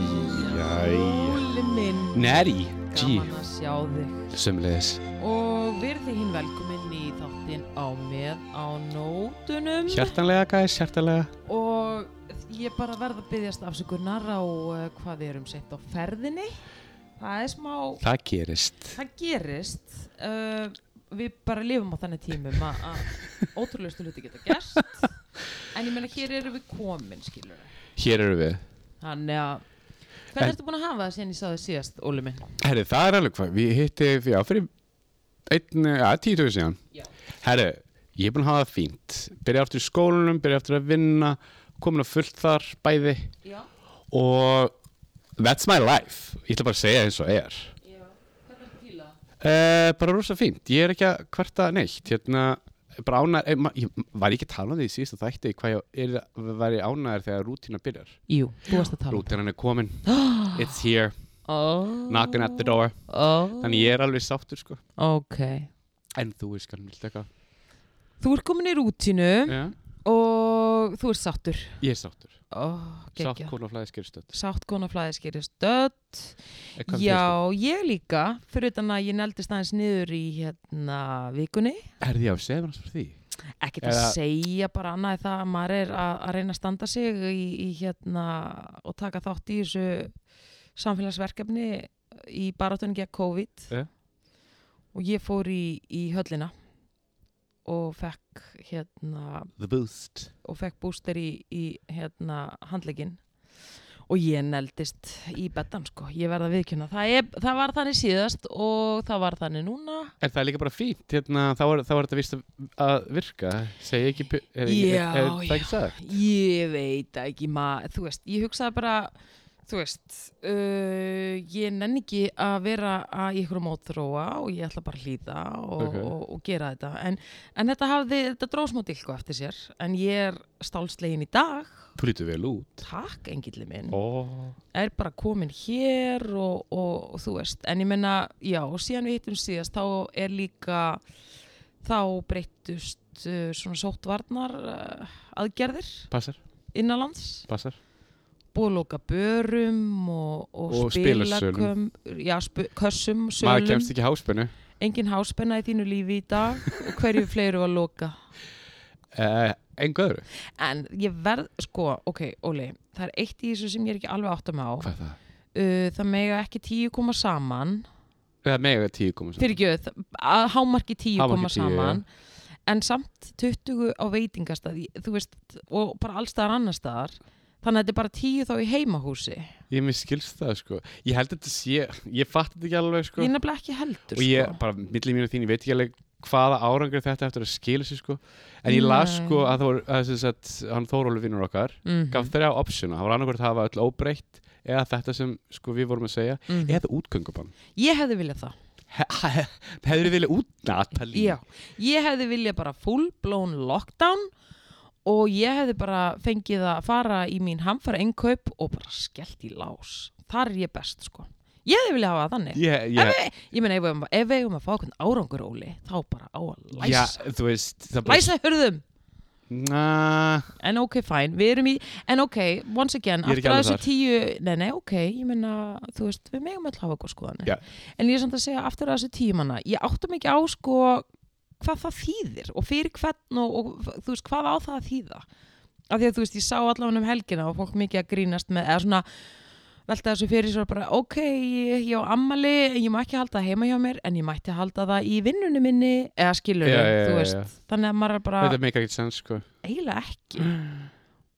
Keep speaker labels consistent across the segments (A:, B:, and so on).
A: Jæja.
B: Óli minn
A: Neri, G,
B: Gaman að sjá þig
A: sömulegis
B: Og verði hinn velkominn í þáttinn á með á nótunum
A: Hjartanlega, guys, hjartanlega
B: Og ég bara verð að byggjast afsökunar á uh, hvað við erum sett á ferðinni Það er smá,
A: Það gerist
B: það gerist uh, Við bara lifum á þannig tímum að- að ótrúlega hluti geta gerst En ég meina hér erum við komin skilur
A: Hér eru við
B: Þannig að
A: En-
B: Hvernig ertu búin að hafa það síðan ég sá þig síðast, Óli minn?
A: Herri, það er alveg hvað, við hitti já, fyrir einn, að tíu tóðu síðan
B: Já.
A: Herri, ég er búin að hafa það fínt Byrja aftur í skólanum, byrja aftur að vinna Komin á fullt þar, bæði
B: Já,
A: Og that's my life Ég ætla bara að segja eins og er
B: já Hvernig ertu fílað?
A: Uh, bara rosa fínt, ég er ekki að kvarta neitt hérna, bara ánæður eh, ma- ég, var ég ekki að tala um því í síðasta þætti hvað ég er, var ég ánæður þegar rútína byrjar
B: Jú, þú varst að tala um
A: rútínan er komin, it's here
B: oh,
A: knocking at the door,
B: oh,
A: þannig ég er alveg sáttur sko,
B: Ok
A: en þú er skan vilt eitthvað,
B: Þú ert komin í rútinu
A: já,
B: og þú ert sáttur
A: ég er sáttur
B: oh,
A: sátt
B: Sátt
A: kona og flæði skyrstöld
B: Sáttkona flæði skerist dött Já, ég líka fyrir utan að ég neldist aðeins niður í hérna vikunni
A: er því á sefnars fyrir því
B: ekkert að
A: Eða-
B: segja bara annað en það að maður er að, að reyna að standa sig í, í hérna og taka þátt í þessu samfélagsverkefni í barátunni gegn COVID
A: Ja.
B: og ég fór í, í höllina og fekk hérna
A: the boost,
B: og fekk búster í, í hérna handlegin og ég neldist í betan sko, ég verða viðkjöna það, er, það var þannig síðast og það var þannig núna
A: en það er líka bara fínt hérna, þá er, þá er þetta vist að, að virka segi ekki, pu- er, er,
B: Já,
A: er, er það ekki sagt
B: Ég veit það ekki maður, þú veist, ég hugsaði bara, þú veist, uh, ég nenni ekki að vera að ykkur mótróa og ég ætla bara að hlýta og,
A: Ok.
B: og, og gera þetta. En, en þetta hafði, þetta dróðsmóti ykkur eftir sér, en ég er stálslegin í dag,
A: þú lítur vel út
B: takk engilli minn,
A: oh.
B: er bara komin hér og, og, og þú veist, en ég menna, já, og síðan við hittum síðast, þá er líka, þá breyttust uh, svona sóttvarnar uh, aðgerðir
A: passar,
B: innanlands
A: passar
B: búið að loka börum og, og,
A: Og
B: spilaköm já, sp kössum,
A: maður
B: sölum
A: kemst ekki háspennu
B: engin háspenna í þínu lífi í dag og hverju fleiru að loka
A: uh, engu öðru
B: en ég verð, sko, ok, Óli það er eitt í þessu sem ég er ekki alveg átt að má uh,
A: hvað er það?
B: það mega ekki tíu koma saman
A: það er mega tíu komið
B: fyrir ekki, að hámarki tíu
A: Hámarki
B: koma
A: 10,
B: saman en samt 20 á veitingastað ég- þú veist, og bara allstaðar annarstaðar þannig að þetta er bara tíu þá í heimahúsi
A: ég mér skilst það sko ég held að þetta sé ég fatt þetta ekki alveg
B: ég
A: sko
B: er nefnilega ekki heldur
A: og ég
B: sko.
A: bara millið mínu þín ég veit ekki alveg hvaða árangur þetta eftir að skila sig sko en ég las
B: Nei.
A: sko að það voru að þess að hann Þórólu vinnur okkar
B: Mhm,
A: gaf þrjá optiona það var annarkvært að hafa öll óbreytt eða þetta sem sko við vorum að segja
B: mhm.
A: eða útgöngubann
B: Ég hefði viljað það.
A: hefur þið viljað út Natalie
B: Já. Ég hefði viljað bara full blown lockdown og ég hefði bara fengið að fara í mín hamfara innkaup og bara skellt í lás. Þar er ég best, sko. Ég hefði viljað hafa það þannig.
A: ég, ég,
B: Ég meina, ef við eigum- ef við eigum að fá okkur árangur, Óli, þá bara á að
A: já,
B: læsa.
A: þú veist það bara-
B: Læsa hörðum.
A: Nah,
B: En ok, fine. Við erum í, en ok, once again,
A: Ég er ekki
B: aftur að
A: alveg
B: þessu tíu, nei, nei, ok, ég meina, þú veist, við megum öll hafa okkur skoðanir.
A: Já.
B: En ég er samt að segja aftur að þessu tímanna, ég áttum ekki á, sko, hvað það þýðir og fyrir hvern og, og þú veist, hvað á það að þýða af því að þú veist, ég sá allavega um helgina og fólk mikið að grínast með, eða svona velta þessu fyrir svo bara, ok ég, ég á ammali, en ég má ekki halda það heima hjá mér en ég mætti halda það í vinnunni minni eða skilur,
A: Já, já,
B: þú
A: já,
B: veist þannig að maður er bara,
A: þetta meikar ekkert sens sko
B: eiginlega ekki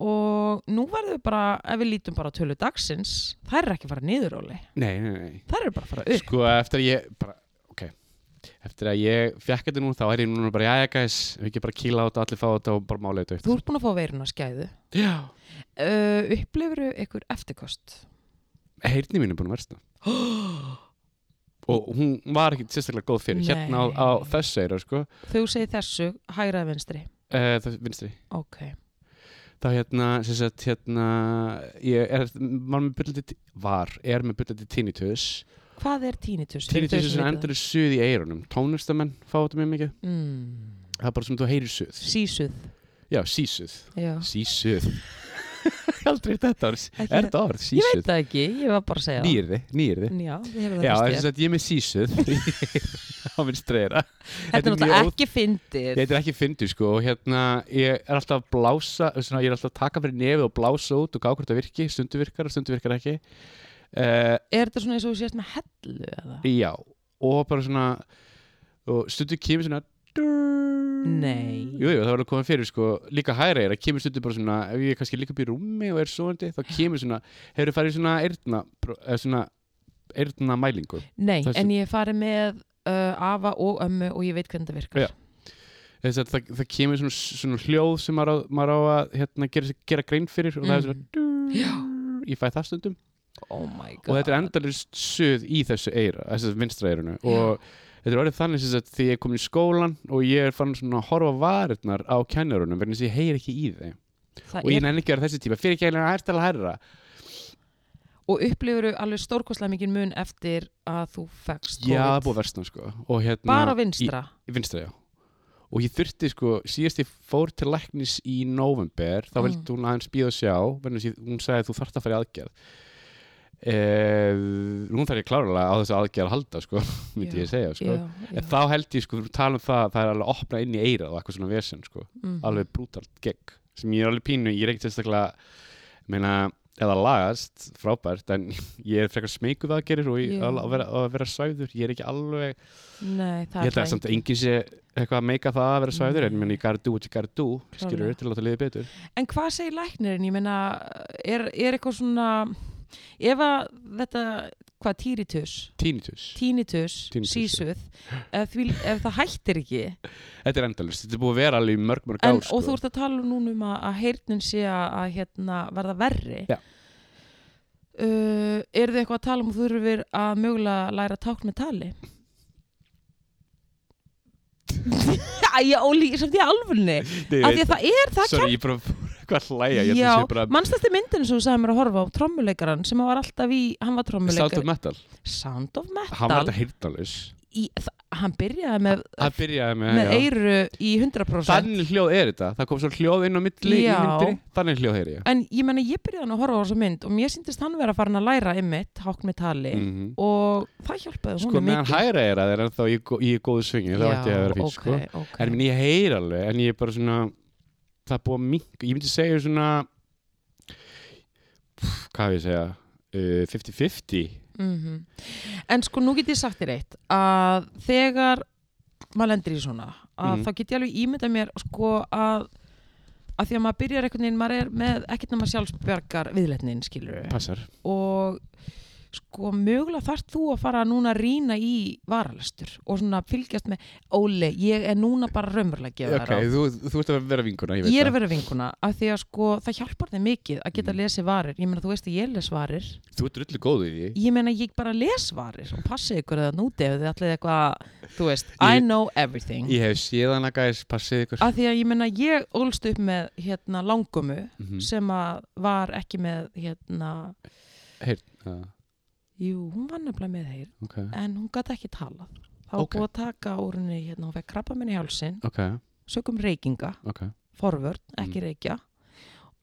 B: og nú verðum við bara ef við lítum bara á tölu dagsins þær eru ekki að fara niður, Óli,
A: nei, nei, nei
B: þær eru bara að fara upp
A: Sko eftir að ég bara, ok Eftir að ég fekk þetta nú þá er ég núna bara Jæja guys, við ekki bara kýla á þetta, allir fá þetta og bara mála þetta
B: þú
A: eftir
B: ert búin að fá veiruna skæðu
A: Já
B: uh, upplifur ykkur eftirkost
A: Heyrni mín er búin að versta Og hún var ekki sérstaklega góð fyrir Hérna á, á
B: Nei.
A: þessu eira sko
B: þú segir þessu, hægra eða vinstri
A: uh, Það vinstri
B: ok,
A: Þá hérna, sem sagt, hérna Ég er, var með bullandi Var, er með bullandi tinnitus
B: Hvað er tinnitus? Fyrir þau sem
A: Tinnitus er
B: vita það?
A: endur suð í eyrunum Tónlistamenn fá þetta mjög mikið
B: Mm,
A: Það er bara sem þú heyrir suð
B: sísuð,
A: Já, sísuð
B: já.
A: Sísuð Aldrei er þetta orð
B: Ekki-
A: Er þetta orð?
B: Ég veit
A: Sísuð
B: það ekki, ég var bara að segja
A: Nýrði, nýrði
B: það. Já, þið hefur það
A: Já,
B: fyrst
A: þess að ég er með sísuð Á minn streyra
B: Þetta er
A: mjög
B: náttúrulega
A: óþ-
B: ekki fyndið.
A: Þetta er ekki fyndið sko og hérna ég er alltaf að blása, svona, ég er alltaf að taka fyrir nefið og blása út og gá hvort það virki, stundu virkar og stundu virkar ekki. Uh,
B: Er þetta svona eins og þú sést með hellu eða?
A: já, og bara svona, og stundu kemur svona,
B: Nei.
A: jú, jú, það var alveg komið fyrir sko, líka hæra er að kemur stundu bara svona, ef ég er kannski líka upp í rúmi og er svoandi, þá kemur svona, hefur farið í svona eyrna, eða svona, eyrna mælingu.
B: Nei,
A: Þessi-
B: en ég hef farið með uh, afa og ömmu og ég veit hvernig þetta virkar.
A: Já. Þess að það, það kemur svona, svona hljóð sem maður á, maður á að hérna, gera, gera grein fyrir og það er
B: Mm.
A: svona,
B: Já.
A: ég fæ það stundum.
B: Oh my god.
A: og þetta er endalist suð í þessu eira, þessu vinstra eirunu og þetta er orðið þannig sem sagt því ég er komin í skólan og ég er fann svona að horfa á varirnar á kennarunum verðin þess að ég heyr ekki í þeim
B: Það
A: og ég
B: er,
A: nenni ekki að vera þessi típa, fyrir ekki að hægt að herra
B: og upplifur alveg stórkostlega mikið mun eftir að þú fegst
A: já, það er
B: COVID.
A: búið versna sko og hérna,
B: Bara á vinstra.
A: í, vinstra, já og ég þurfti sko, síðast ég fór til læknis í november, þá
B: Mm.
A: vildi hún aðeins býða og sjá, verðin þess að hún sagði að þú þarft að fara í aðgerð Eh, nú þarf ég klárlega á þessu aðgerð að halda sko, myndi
B: Já,
A: ég segja sko.
B: Já, já.
A: En þá held ég sko, við erum að tala um það að það er alveg að opna inn í eirað og eitthvað svona vesen sko,
B: mm.
A: alveg brútalt gegg sem ég er alveg pínu, ég er ekkert sérstaklega meina, eða lagast frábært, en ég er frekar smeykuð að gerir og ég,
B: Já.
A: yeah. að, vera, að vera svæður, ég er ekki alveg
B: Nei, það
A: ég held að samt að enginn sé eitthvað að meika það að vera svæður, en
B: Nei.
A: ég meina, ég gotta do what you gotta do skilur
B: Klárlega.
A: til að láta liðið betur
B: En hvað segir læknirinn? Ég meina, er, er eitthvað svona, ef að þetta, hvað, tíritus,
A: Tinnitus,
B: tínitus,
A: Tinnitus,
B: sísuð, ef, því, ef það hættir ekki,
A: þetta er endalist þetta er búið að vera alveg í mörg mörg
B: en,
A: ár sko.
B: og þú ert að tala núna um að, að heyrnin sé að, að hérna, verða verri,
A: Já.
B: uh, er þið eitthvað að tala um að þú þurfir að mögulega læra tákn með tali? Æja, Óli, ég samt í alvunni,
A: Nei,
B: af því
A: ég veit
B: að það er það
A: sorry, ég bara hvað hlæja, ég
B: Já,
A: þessi bara
B: mannst þetta myndin sem þú sagði mér að horfa á trommuleikaran sem hann var alltaf í, hann var
A: Sound
B: trommuleikar
A: of Metal,
B: Sound of Metal
A: hann var þetta heyrnalus
B: í, þa- hann byrjaði með,
A: það byrjaði með,
B: með
A: já.
B: eiru í 100%
A: Þannig hljóð er þetta, það kom svo hljóð inn á milli í
B: Já.
A: myndinni, þannig hljóð heyri ég
B: en ég menna ég byrjaði hann að horfa á þessa mynd og mér syndist hann vera farin að læra ymmit hátt með tali
A: Mhm.
B: og það hjálpaði
A: Sko
B: hún
A: meðan
B: mikið
A: hæra er að það er ennþá í, gó- í góðu svingi, þá ætti ég að vera fín sko.
B: okay, okay.
A: En minn, ég heyr alveg, en ég er bara svona, það er búið að mink, ég myndi segja svona, pff, hvað á ég að segja, uh, 50-50
B: Mhm. En sko nú get ég sagt þér eitt að þegar maður lendir í svona að
A: Mhm.
B: þá get ég alveg ímyndað mér sko að að því að maður byrjar einhvern veginn maður er með ekkert nema sjálfsbjargar viðletnin skilur
A: passar.
B: og sko mögulega þarft þú að fara núna að rýna í varalestur og svona fylgjast með Óli, ég er núna bara raumurlega gefið
A: Ok, þú, þú ert að vera vinkuna, ég veit
B: Ég er að
A: það.
B: vera vinkuna af því að sko það hjálpar þig mikið að geta
A: Mhm.
B: lesið varir, ég meina þú veist að ég les varir
A: Þú ert rullu góð í því.
B: ég meina ég bara les varir og passi ykkur eða núti ef þið allir eitthvað þú veist, I
A: Ég-
B: know everything
A: Ég hef séð hana gæs, passið ykkur.
B: af því að ég meina ég ólst upp með hérna langömu
A: Mhm.
B: sem að var ekki með hérna,
A: Já,
B: jú, hún var nefnilega með þeir
A: Ok,
B: en hún gæti ekki talað þá var
A: Ok.
B: búið að taka úr henni hérna, hún fekk krabba minni í hálsin
A: ok,
B: sögum reykinga,
A: ok.
B: forvörn, ekki
A: Mm.
B: reykja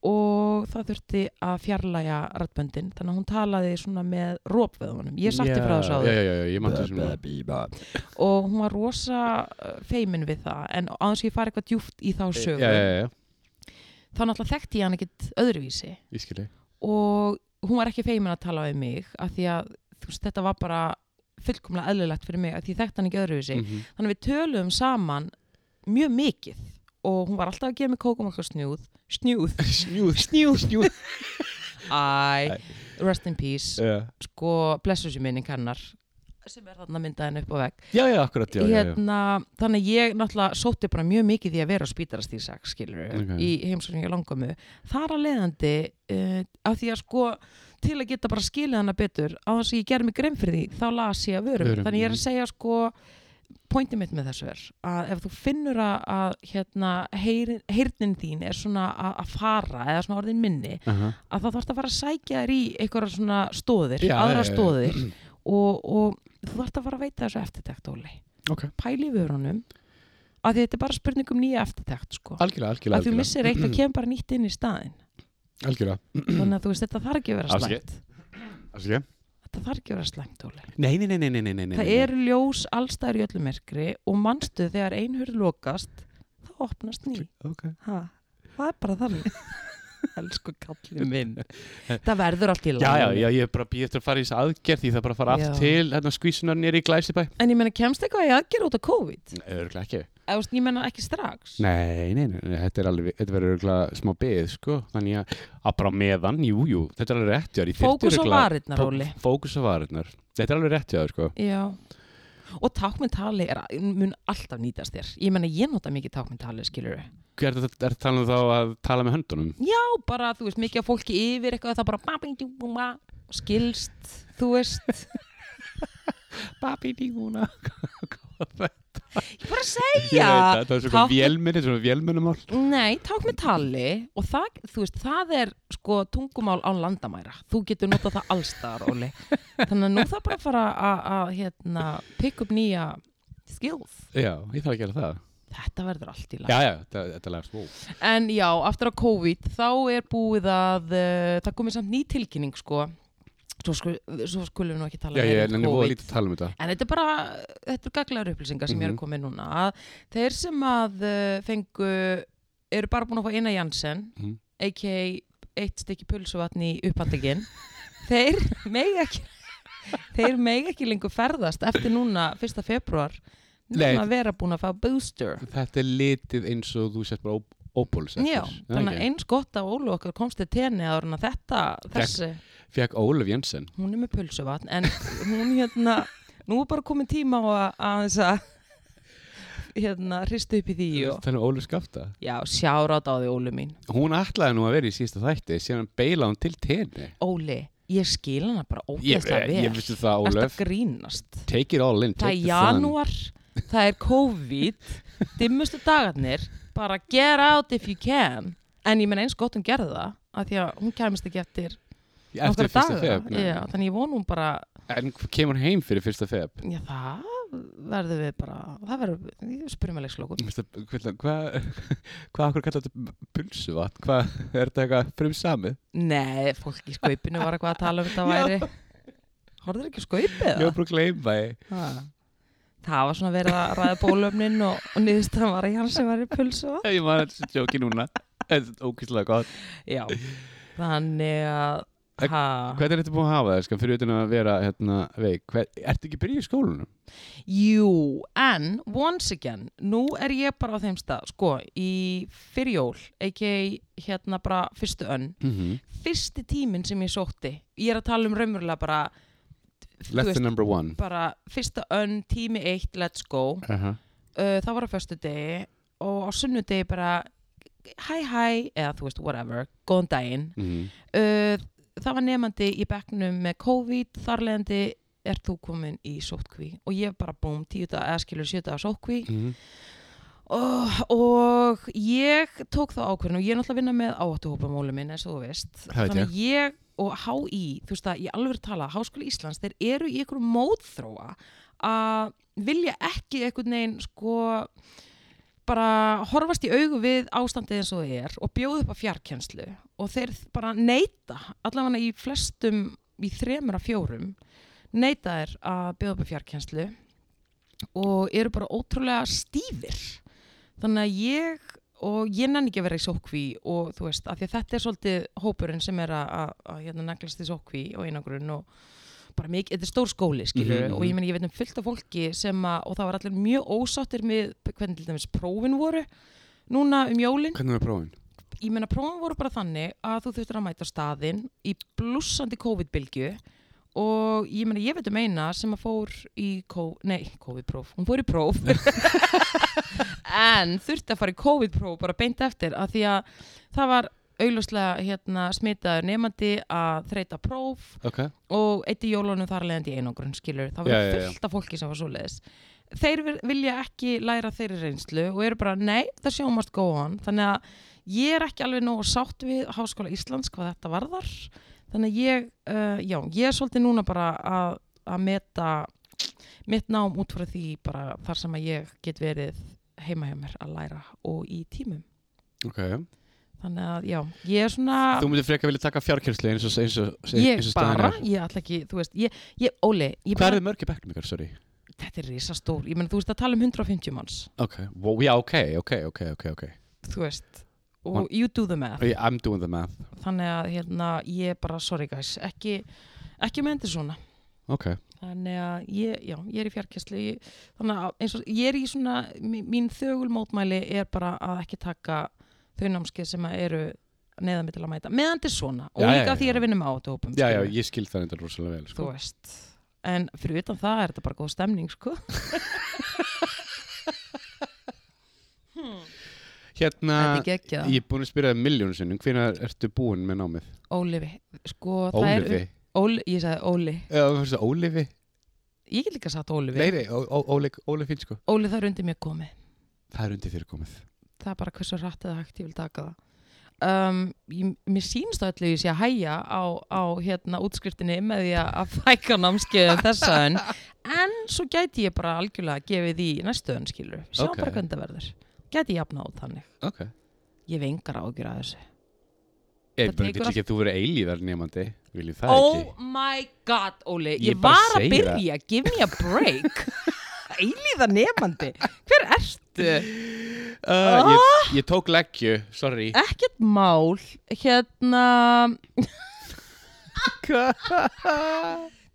B: og það þurfti að fjarlæga rættböndin, þannig að hún talaði svona með rópveðunum, ég sakti yeah, frá þessu áður
A: Já, já, já, já, ég mætti svona.
B: og hún var rosa uh, feimin við það en á þess að ég fari eitthvað djúft í þá
A: Já,
B: sögu
A: Eh, já, já, já,
B: þá náttúrulega þekkti ég hann ekkit öðruvísi
A: ég skil ég.
B: og hún var ekki feimin að tala við mig af því að þú veist, þetta var bara fullkomlega eðlilegt fyrir mig af því ég þekkti hann ekki öðruvísi
A: Mhm.
B: þannig að við töluðum saman mjög mikið og hún var alltaf að gefa mig kókum okkur snjúð snjúð,
A: Snjúð, snjúð, snjúð
B: æ,
A: Æ.
B: rest in peace
A: Já,
B: sko, blessu sér minning hennar sem er þarna myndaðin upp á vegg
A: já, já, akkurat, já, já, já.
B: hérna, þannig að ég náttúrulega sótti bara mjög mikið því að vera á spítarast í sex skilur
A: Ok.
B: í heimsókningi langamu þar að leiðandi uh, af því að sko til að geta bara skilið hana betur á þess að ég gerði mig grein fyrir því þá las ég að vörum,
A: Vörum,
B: þannig ég er að
A: mhm.
B: segja sko pointi mitt með þessu er að ef þú finnur að, að hérna, heyr, heyrnin þín er svona að, að fara eða svona orðin minni
A: Aha.
B: að þá þarfst að fara að sækja þér í einhverja svona stóðir,
A: Já,
B: aðra
A: já, já.
B: stóðir og, og þú þarft að fara að veita þessu eftirtekt, Óli
A: Ok.
B: pæli vörunum að því þetta er bara spurning um nýja eftirtekt sko.
A: Algjörlega, algjörlega,
B: að þú
A: algjörlega,
B: missir eitt og kemur bara nýtt inn í staðin
A: algjörlega.
B: þannig að þú veist þetta þarf ekki að vera
A: Afsakið.
B: slæmt
A: Afsakið.
B: þetta þarf ekki að vera slæmt, Óli
A: Nei, nei, nei, nei, nei, nei, nei, nei.
B: það eru ljós allstæður í öllu myrkri og manstu þegar einhverð lokast þá opnast ný
A: Ok.
B: ha, það er bara þannig elsku kallið minn það verður allt í
A: Já, já,
B: lagi.
A: já, ég er bara býð eftir að fara í þess aðgerð því það er bara að fara
B: Já.
A: aftur til hérna skvísunar nýri í glæsibæ.
B: en ég menna kemst eitthvað í aðgerð út af COVID
A: Nei, Örgulega ekki.
B: Eða, þú veist, ég menna ekki strax
A: Nei, nei, nei, nei, þetta er alveg, þetta verður örgulega smá beð, sko. Þannig að, að bara á meðan, jú, jú, þetta er alveg rétt, já. ég þyrfti
B: fókus á
A: örugglega-
B: varirnar, Óli
A: Fó- Fókus á varirnar. Þetta er alveg rétt, já, sko.
B: Já. Og tákmyndtali er, mun alltaf nýtast þér. Ég menna, ég nota mikið tákmyndtali, skilur við.
A: Hver er þetta, er þetta talað um þá að tala með höndunum?
B: Já, bara, þú veist, mikið af fólki yfir eitthvað, það bara ba, bing, ding, bum, ba, skilst, þú veist.
A: Babi díguna.
B: Ég er bara að
A: Ég
B: segja.
A: veit það, það er svona
B: tákn-
A: vélminni, svona vélminnumál.
B: Nei, tákmyndtali og það, þú veist, það er sko tungumál án landamæra. Þú getur notað það allstaðar, Óli. Þannig að nú það bara að fara að- að, hérna, pick up nýja skills.
A: Já, ég þarf að gera það.
B: Þetta verður allt í lagi.
A: Já, já, þetta, þetta lagast. Wow.
B: En já, aftur á COVID þá er búið að uh, það komið samt ný tilkynning sko svo, sku, svo skulum við nú ekki tala
A: Já,
B: meira
A: ég nenni voða
B: COVID
A: lítið að tala um þetta.
B: En þetta er bara, þetta er gaglegar upplýsingar sem ég er
A: Mhm.
B: að koma með núna að þeir sem að uh, fengu eru bara búin að fá eina Janssen
A: Mhm.
B: a.k.a. eitt stykki pulsuvatn í upphandegin þeir megi ekki þeir megi ekki lengur ferðast eftir núna 1. februar
A: Nei.
B: nema að vera búin að fá booster
A: Þetta er litið eins og þú sett bara ó- óbólusettur.
B: Já,
A: Er það
B: þannig að
A: ekki?
B: eins gott að Ólu okkar komst til tenni áður en að þetta, þessi,
A: Fekk Ólaf Jensen.
B: hún er með pulsuvatn en hún hérna, nú er bara komin tíma á að- að þess að hérna, hristu upp í því og,
A: Þannig Ólaf skafta.
B: já, sjárat á því Ólu mín
A: Hún ætlaði nú að vera í sísta þætti, síðan beila hún til tenni.
B: Óli, ég skil hana bara
A: Ég,
B: ógeðslega
A: ég,
B: vel
A: ég vissi það,
B: Ertu að
A: Ólaf.
B: grínast
A: Take it all in,
B: Það
A: take
B: er
A: the fun.
B: janúar, það er COVID dimmustu dagarnir bara get out if you can en ég menn eins gott hún gerði það af því að hún kæmist ekki eftir
A: Eftir
B: nokkra
A: fyrsta
B: daga.
A: feb. nei.
B: Já, þannig ég vona hún bara
A: En kemur hún heim fyrir fyrsta feb?
B: Já, það verður við bara, það verður, ég spyrir með leikslókum.
A: Mr. B- Hvað, hvað, hvað akkur kallar þetta pulsuvat? Hvað, er þetta eitthvað frum samið?
B: Nei, fólk í skaupinu var eitthvað að tala um þetta væri. Horður ekki á skaupið
A: Ég var
B: það?
A: bara að gleyma því.
B: Það var svona verið að ræða bólöfnin og, og niðurstaðan var að hann sem var í pulsu.
A: Ég man þetta sem jóki núna. Þetta er ókýrslega gott.
B: Já, þannig að,
A: En
B: ha,
A: Hvernig er þetta búin að hafa það, skan, fyrir utan að vera hérna, veik? Hver, ertu ekki byrjuð í skólanum?
B: jú, en once again, nú er ég bara á þeim stað, sko, í fyrir jól, ekki hérna bara fyrstu önn,
A: Mm -hmm.
B: fyrsti tíminn sem ég sótti, ég er að tala um raumurlega bara, þú
A: Let
B: veist,
A: the number one.
B: bara fyrsta önn, tími eitt, let's go uh,
A: Uh -huh.
B: það var á föstudegi og á sunnudegi bara hæ hæ, eða þú veist, whatever góðan daginn
A: Mhm.
B: uh, það var nefandi í bekknum með COVID þarlegandi er þú komin í sótkví og ég bara búm tíu dag, eða skilur sjö dag sótkví
A: Mhm.
B: og, og ég tók þá ákvörðin og ég er náttúrulega að vinna með áhættuhópa mólu minn eins og þú veist
A: Það veit
B: þannig að ég og HÍ þú veist að ég alveg er að tala, Háskóli Íslands þeir eru í einhverju móðþróa að vilja ekki einhvern veginn sko bara horfast í augu við ástandið eins og það er og bjóða upp á fjarkenslu og þeir bara neita allavega í flestum í þremur að fjórum neita þeir að bjóða upp á fjarkenslu og eru bara ótrúlega stífir þannig að ég og ég nenni ekki að vera í sókví og þú veist, af því að þetta er svolítið hópurinn sem er að, að, að hérna, neglast í sókví og einagrun og bara mikið, þetta er stór skóli skilur
A: Mhm,
B: og ég meina ég veit um fullt af fólki sem að, og það var allir mjög ósáttir með hvernig til dæmis prófin voru núna um jólin,
A: Hvernig var prófin?
B: ég meina prófin voru bara þannig að þú þurftir að mæta á staðinn í blussandi COVID-bylgju og ég meina ég veit um eina sem að fór í kó- nei, COVID-próf, hún fór í próf en þurfti að fara í COVID-próf bara beint eftir að því að það var augljóslega hérna, smitaður nefandi að þreita próf
A: Ok.
B: og eitt í jólunum þar leðandi einangrun skilur, það
A: Já, já,
B: var
A: já.
B: fullt af fólki sem var svo leiðis þeir vil- vilja ekki læra þeirri reynslu og eru bara nei, það sjómast góðan þannig að ég er ekki alveg nógu sátt við eh, Háskóla Íslands hvað þetta varðar þannig að ég, uh, já, ég er svolítið núna bara að, að meta mitt nám út frá því bara þar sem að ég get verið heima hjá mér að læra og í tímum
A: ok
B: þannig að já, ég er svona
A: Þú myndir frekar vilja taka fjárkjörsli eins og, eins og,
B: Ah. ég
A: eins og staðan
B: bara,
A: er.
B: ég ætla ekki þú veist, ég, ég Óli, ég
A: Hvað
B: bara,
A: eru mörg í bekknum ykkur, sorry?
B: þetta er risastór ég menn þú veist að tala um 150 manns
A: Ok, wow, já, ok, ok, ok, ok, ok
B: þú veist, og you do the math
A: Yeah, I'm doing the math
B: þannig að hérna, ég er bara, sorry guys ekki, ekki með endur svona
A: Ok,
B: þannig að ég, já, ég er í fjarkesslu þannig að eins og ég er í svona mí- mín þögul mótmæli er bara að ekki taka þau námskeið sem að eru neðan mig til að mæta meðan þetta er svona og
A: Já, já,
B: líka
A: já,
B: því ég er
A: já.
B: að vinna með átöfum
A: já, já, ég skil það enda rosalega vel
B: þú
A: sko.
B: veist en fyrir utan það er þetta bara góð stemning sko.
A: Hérna,
B: þetta er geggja
A: ég er búin að spyrja það miljónu sinnum Hvenær ertu búin með námið?
B: Ólifi, sko það er
A: Ólifi
B: Óli, ég sagði Óli
A: Já, þú veist það, Ólifi
B: ég get líka sagt Ólifi,
A: Nei, nei, Ó- Ó- Óli- Ólifinn sko
B: Óli það er undir mér komið
A: Það er undir þér komið
B: það er bara hversu rætt eða hægt ég vil taka það um, ég, mér sýnst á öllu ég sé að hæja á, á hérna útskriftinni með því að- að fæka námskeiðum þessa en en svo gæti ég bara algjörlega gefið í næstu önn skilur, sjá
A: Ok.
B: bara hvernig það verður gæti ég jafna á þannig,
A: Ok
B: ég vengar ágjur að þessu
A: Ég
B: Það
A: bara
B: tekur
A: vil ekki að þú verið eilíðar nefandi Viljum það
B: oh my god Óli, ég,
A: Ég bara
B: var að
A: segi
B: byrja give me a break eilíða nefandi, hver ertu
A: ekki uh, ég, ég tók leggju, sorry
B: ekkert mál hérna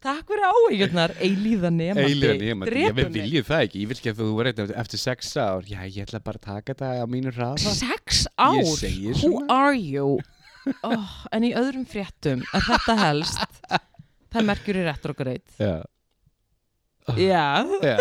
B: Takk fyrir áhugjurnar, eilíða nefandi.
A: Eilíðar nefandi, ég vil
B: Drepa mig.
A: viljið það ekki Ég vil ekki að þú verið eftir, eftir sex ár Já, ég ætla bara að taka það á mínu hraða
B: Sex ár?
A: segi
B: Who
A: svona.
B: are you? Oh, en í öðrum fréttum er þetta helst. Það merkjur í retrograde.
A: Já, Ah.
B: Já,
A: já,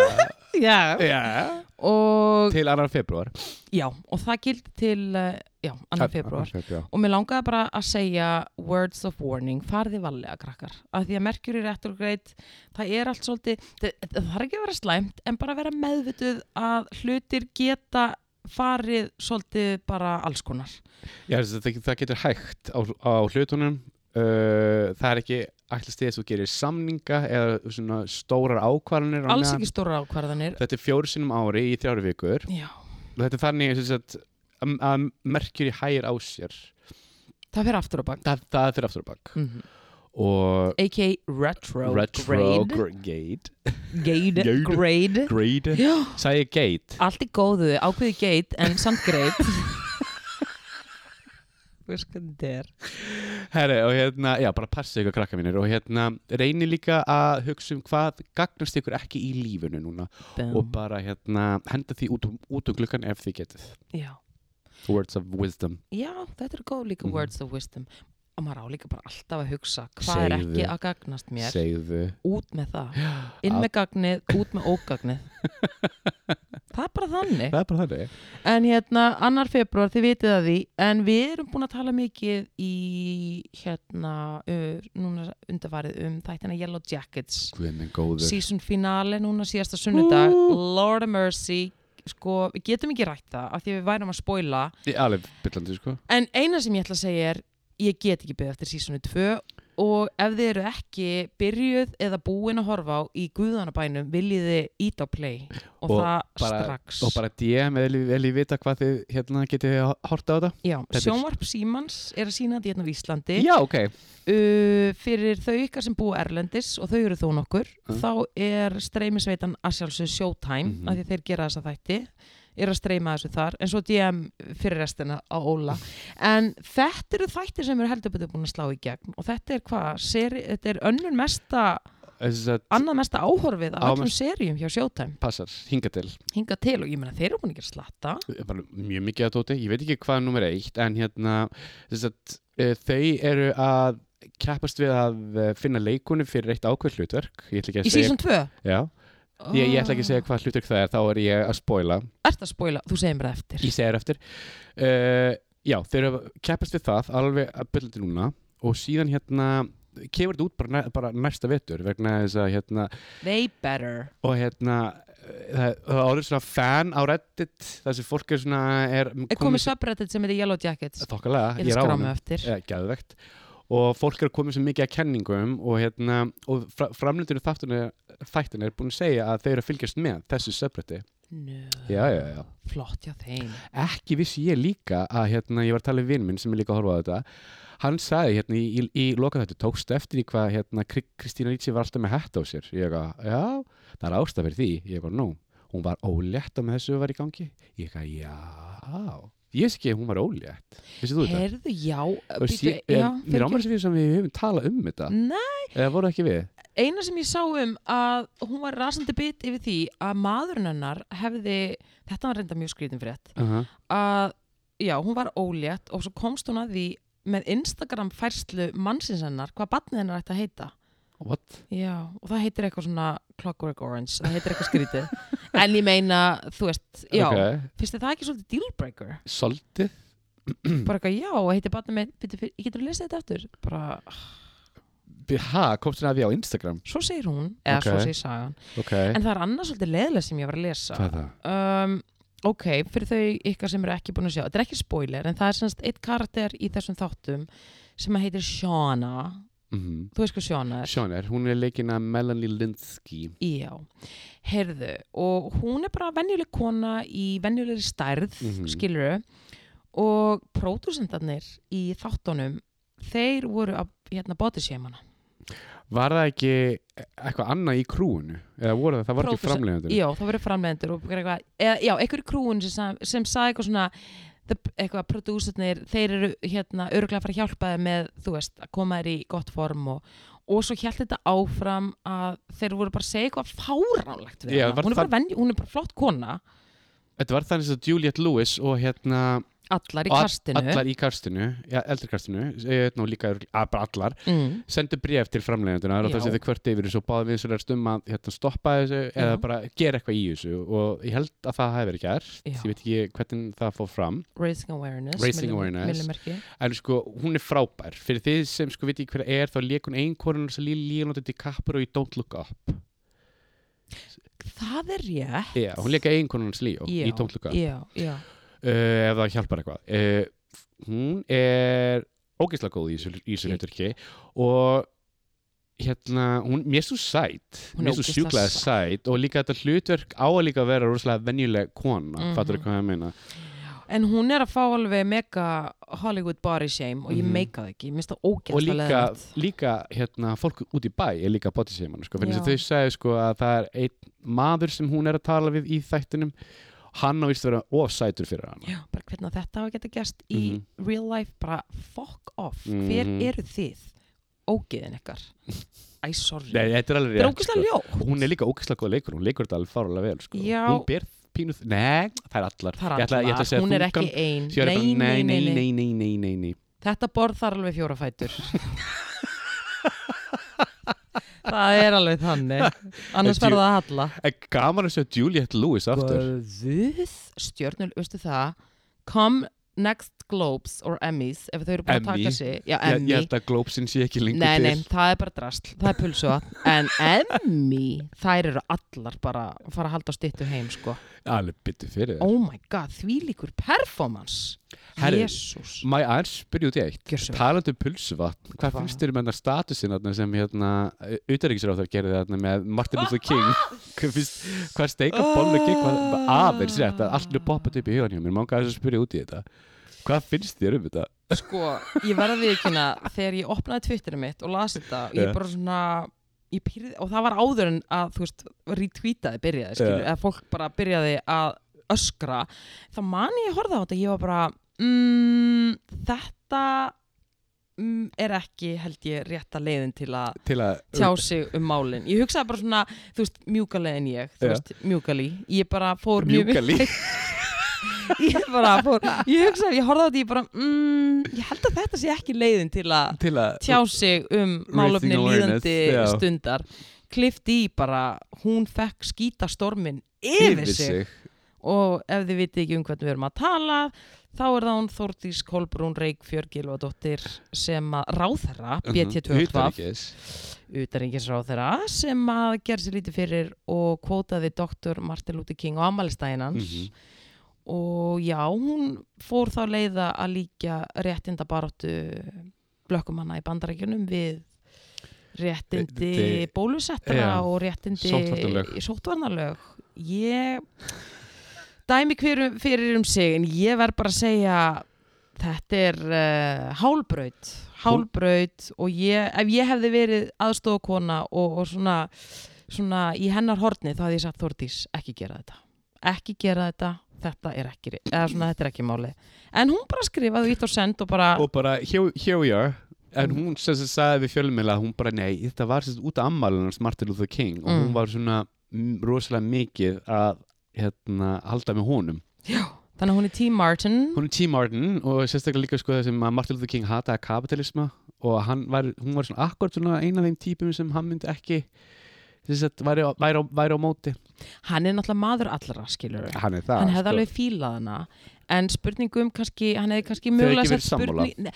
B: já.
A: já
B: Og,
A: Til annar februar
B: já, og það gildi til, eh, já,
A: Ah,
B: annar februar.
A: februar
B: Og mér langaði bara að segja words of warning, farði valega krakkar. Af því að Mercury retrograde, það er allt svolítið, það, það þarf ekki að vera slæmt, en bara vera meðvituð að hlutir geta farið svolítið bara alls konar.
A: Já, þess að það, það getur hægt á, á hlutunum uh, Það er ekki ætlast til þess að þú gerir samninga eða svona stórar ákvarðanir á
B: Alls
A: meðan.
B: ekki stóra ákvarðanir.
A: Þetta er fjóru sinnum á ári í þrjáru vikur
B: Já,
A: Þetta er þannig sem sagt, að, að merkjur í hægir á sér
B: það fyrir aftur á bak.
A: Það, það er fyrir aftur á bak
B: Mm -hmm.
A: Og
B: A.k.a. retrograde.
A: retrograde Gate
B: Gade.
A: Gade.
B: Grade.
A: Grade
B: Já.
A: Sæði ég gate
B: Allt í góðu, ákveði geit en samt greit. Hvað skoðum þetta er?
A: Herri, og hérna, já, bara passa ykkur krakka mínir og hérna, reyni líka að hugsa um hvað gagnast ykkur ekki í lífinu núna og bara hérna, henda því út um, út um glukkan ef þið getið
B: Já.
A: Words of wisdom
B: Já, þetta er góð líka
A: Mhm.
B: words of wisdom og maður á líka bara alltaf að hugsa hvað er
A: Segðu.
B: ekki að gagnast mér
A: segðu
B: út með það, inn með gagnið út með ógagnið það er bara þannig
A: Það er bara þannig
B: en hérna, annar februar, þið vitið að því en við erum búin að tala mikið í hérna uh, núna undarfarið um þættina Yellow Jackets
A: Guð minn góður
B: season finale núna síðasta sunnudag Lord of Mercy sko, við getum ekki rætt það af því við værum að spoila
A: Í alveg byllandi, sko
B: En eina sem ég ætla að segja er ég get ekki beðið eftir sísonu 2 og ef þið eru ekki byrjuð eða búin að horfa á í guðanabænum viljið þið ít á play og,
A: Og
B: það
A: bara-
B: strax
A: Og bara DM, vel ég- vel ég vita hvað þið hérna getið að horta á þetta
B: Já,
A: þetta er-
B: sjónvarp Símans er að sína þetta hérna á Íslandi
A: Já, ok
B: uh, fyrir þau ykkar sem búa Erlendis og þau eru þó nokkur
A: Mm.
B: þá er streymisveitan að sjálfsög Showtime
A: Mhm.
B: af því þeir gera þessa þætti er að streyma þessu þar en svo DM fyrir restina á Óla en þetta eru þættir sem eru heldur betur búin að slá í gegn og þetta er hvað, seri, þetta er önnur mesta
A: Þess að
B: annað mesta áhorfið af
A: Á-
B: öllum seríum hjá Showtime
A: passar, hinga til
B: hinga til og ég meina þeir eru búin að gera slatta
A: bara mjög mikið að tóti, ég veit ekki hvað er nummer eitt en hérna þess að, e, þau eru að keppast við að eh, finna leikunum fyrir eitt ákveð hlutverk ég ætla ekki að
B: í
A: segja,
B: season Ah. 2
A: já, ég, ég ætla ekki að segja hvað hlutverk það er, þá er ég að spoila
B: Ert að spoila, þú segir mér það eftir
A: ég segir eftir uh, já, þau eru að keppast við það alveg að byrja til núna og síðan hérna kemur þetta út bara, næ, bara næsta vetur vegna þess að hérna
B: They better
A: og hérna eh, það það er orðið svona fan á reddit þar sem fólk er svona er
B: Er komið subreddit sem heitir Yellow Jackets
A: þokkalega,
B: Ég
A: ég er á
B: skráma
A: honum
B: eftir
A: Já, geðvegt og fólk er að koma sem mikið að kenningum og, hérna, og fra, framlindinu þættin er búin að segja að þeir eru að fylgjast með þessu subredditi
B: Nö,
A: já, já, já.
B: flott hjá þeim
A: ekki vissi ég líka að hérna, ég var að tala við vinn minn sem er líka að horfa á þetta hann sagði hérna í, í, í loka þetta tókst eftir í hvað hérna, Kri- Kristína Rítsi var alltaf með hætt á sér ég eitthvað, já, það er ástæð fyrir því ég eitthvað, nú, hún var ólétt á með þessu var í gangi, ég eitthvað, já ég veist ekki að hún var ólétt vissið þú þetta?
B: Herðu, já,
A: Og
B: býtu,
A: sé-
B: já
A: en Mér ámæri sem fyrir sem við höfum talað um þetta
B: Nei,
A: eða voru ekki við
B: eina sem ég sá um að hún var rasandi bit yfir því að maðurinn hennar hefði, þetta var reynda mjög skrýtin frétt
A: uh
B: að já, hún var ólétt og svo komst hún að því með Instagram færslu mannsins hennar hvað batnið hennar ætti að heita
A: What?
B: já, og það heitir eitthvað svona Clockwork Orange, það heitir eitthvað skrítið en ég meina, þú veist, já
A: Ok.
B: finnst þið það ekki svolítið dealbreaker
A: Svolítið
B: bara eitthvað, já, og heitir batnið með byrju, fyrir, ég getur að lesa þetta aftur bara,
A: Ha, komst hún að því á Instagram
B: svo segir hún, eða
A: Ok.
B: svo segir sagan
A: Ok,
B: en það er annars svolítið leðilega sem ég var að lesa
A: hvað er það?
B: um, ok, fyrir þau ykkar sem eru ekki búin að sjá þetta er ekki spoiler, en það er semst eitt karakter í þessum þáttum sem að heitir Shauna
A: Mm
B: þú veist hvað Shauna er?
A: Sjón er, hún er leikin að Melanie Linsky
B: Já, heyrðu og hún er bara venjuleg kona í venjulegri stærð, mm
A: Mhm.
B: skiluru og pródúsendarnir í þáttunum, þeir voru að hérna bodyshame hana
A: Var það ekki eitthvað annað í krúinu? Eða voru það, það var ekki
B: Pródúsa-
A: framleiðandur?
B: Já, það voru framlegendur og bara eitthvað, eða, já, einhverju krúin sem, sa- sem sagði eitthvað svona the, eitthvað, prodúsarnir, þeir eru hérna örgulega að fara að hjálpa þeim með, þú veist að koma þeir í gott form og og svo hjælt þetta áfram að þeir voru bara að segja eitthvað fáránlegt við
A: Já,
B: hana.
A: var
B: hún, er
A: það-
B: bara venj, hún er bara flott kona
A: Þetta var þannig að Juliette Lewis og hérna
B: allar í
A: og all-
B: kastinu
A: allar í kastinu, ja, eldri kastinu og líka örugglega- að bara allar
B: mm,
A: sendu bréf til framleiðandunar og
B: Já.
A: það sem þau kvört yfir þessu og báði við svolítið um að hérna, stoppa þessu eða
B: Já.
A: bara gera eitthvað í þessu og ég held að það hefur verið gert
B: Já.
A: ég veit ekki hvernig það fór fram
B: raising awareness,
A: Raising
B: millim-
A: awareness.
B: millimerki.
A: en sko, hún er frábær fyrir þið sem sko veit ekki hver er þá leikun einkorun og svo líðanóti til kappur og í Don't Look Up
B: það er rétt
A: Já, hún leika eiginkonan hans Líó
B: Já,
A: í Don't Look Up uh,
B: já, já.
A: ef það hjálpar eitthvað uh, hún er ógeðslega góð í þessu- í þessu
B: Ég-
A: hluturki og hérna, hún, mér er svo sæt
B: Hún er
A: mér er svo
B: ógeðslega
A: sjúklega sæt og líka þetta hlutverk á að líka vera rosalega venjuleg kona,
B: Mhm.
A: fattur hvað ég meina
B: en hún er að fá alveg mega Hollywood body shame og ég
A: Mhm.
B: meika það ekki, ég minnst það
A: og
B: ógæst
A: líka, líka hérna, fólk út í bæ er líka bodyshame sko,
B: Já.
A: fyrir þess að þau segja sko, að það er einn maður sem hún er að tala við í þættinum hann á víst að vera ofsætur fyrir hann
B: já, bara hvernig að þetta hafa geta gæst í real life, bara fuck off hver
A: Mhm.
B: eru þið ógeðin ykkar æ, sorry,
A: Nei, þetta er
B: það
A: alveg
B: er
A: rétt, sko.
B: ógæslega ljótt
A: hún er líka ógeðslega góð leikur hún leikur þetta alveg fárlega vel sko.
B: Já.
A: hún ber pínuð, nei, það er allar
B: það er
A: ég ætla, ég ætla að
B: allar,
A: segja
B: hún er ekki
A: þungan,
B: ein
A: svo ég er bara,
B: nei, nei, nei, nei,
A: nei, nei, nei, nei, nei.
B: þetta borð þar alveg fjóra fætur það er alveg þannig annars
A: Djú-
B: verða það að halla
A: En gaman að segja Juliette Lewis aftur
B: Guð, stjörnul, veistu það Come next Globes or Emmys ef þau eru búin að
A: Emmy.
B: taka sig Já,
A: ég, ég
B: Emmy
A: held að Glópsin sé ekki lengur
B: Nei, nei,
A: til
B: það er bara drasl, það er pulsuða En Emmy, þær eru allar bara að fara að halda á styttu heim sko.
A: alveg byttu fyrir þér
B: Oh my god, þvílíkur performance
A: Herri,
B: Jésús
A: Má ég aðeins spyrja út í eitt
B: Gjörsum
A: Talandi um pulsuvatn, hvað
B: Hva?
A: finnst þér um þetta statusin þarna sem hérna auðaríkisráþar gerði þarna með Martin Luther King hvað, finnst, hvað steika bollu King
B: Ah.
A: hvað aðeins rétt að allir poppað upp í hugan hjá mér, mánga þess að spyrja út í þetta hvað finnst þér um þetta?
B: Sko, ég verða við ekki hérna þegar ég opnaði Twitterið mitt og las þetta og ég
A: Já.
B: bara svona ég pyrði, og það var áður en að þú veist retweetaði byrjaði, skilur,
A: Já.
B: eða fólk bara byrjaði að öskra þá man ég að horfa á þetta, ég var bara mm, þetta mm, er ekki held ég rétta leiðin til að
A: Til að
B: tjá sig um málin ég hugsaði bara svona, þú veist, mjúkali en ég þú
A: Já.
B: veist, mjúkali, ég bara fór mjög
A: mjúka líf
B: ég bara fór, ég hugsaði, ég horfði á þetta ég bara, mm, ég held að þetta sé ekki leiðin til að
A: til að
B: tjá sig um málöfni
A: awareness,
B: líðandi
A: já.
B: stundar klift í bara, hún fekk skýta stormin yfir, sig. og ef þið viti ekki um hvernig við erum að tala þá er það hún Þórdís Kolbrún Reykfjörg Gilvadóttir sem að ráðherra BT22
A: Mhm, Utanríkis.
B: utanríkisráðherra sem að gera sér lítið fyrir og kvótaði doktor Martin Luther King á amalistægin hans
A: Mhm.
B: og já, hún fór þá leiða að líka réttindabaráttu blökkumanna í bandarækjunum við réttindi
A: Réttindi-
B: bólusettra
A: Já,
B: og réttindi
A: sóttvarnalög.
B: sóttvarnalög. Ég dæmi hver, fyrir um sig en ég verð bara að segja þetta er uh, hálbraut hálbraut og ég, ef ég hefði verið aðstofakona og, og svona, svona í hennar horni þá hefði ég sagt Þórdís ekki gera þetta ekki gera þetta, þetta er ekki eða svona þetta er ekki máli en hún bara skrifaði ít og send og bara
A: og bara here, here we are en
B: Mhm.
A: hún sem sem sagði við fjölmiðla að hún bara nei, þetta var sem sagt út af ammælunars Martin Luther King og
B: Mm.
A: hún var svona mm, rosalega mikið að hérna, halda með honum
B: þannig að hún er T. Martin
A: hún er T. Martin og sérstaklega líka sko það sem að Martin Luther King hataði kapitalisma og hann var, hún var svona akkurat svona eina af þeim típum sem hann myndi ekki þess að væri, á- væri, á- væri á móti
B: hann er náttúrulega maður allra skilur
A: hann er það
B: hann sko. hefði alveg fílað hana en spurningum kannski, hann hefði kannski
A: Þau hefðu ekki
B: mögulega
A: verið
B: sett
A: sammála.
B: spurning- Nei,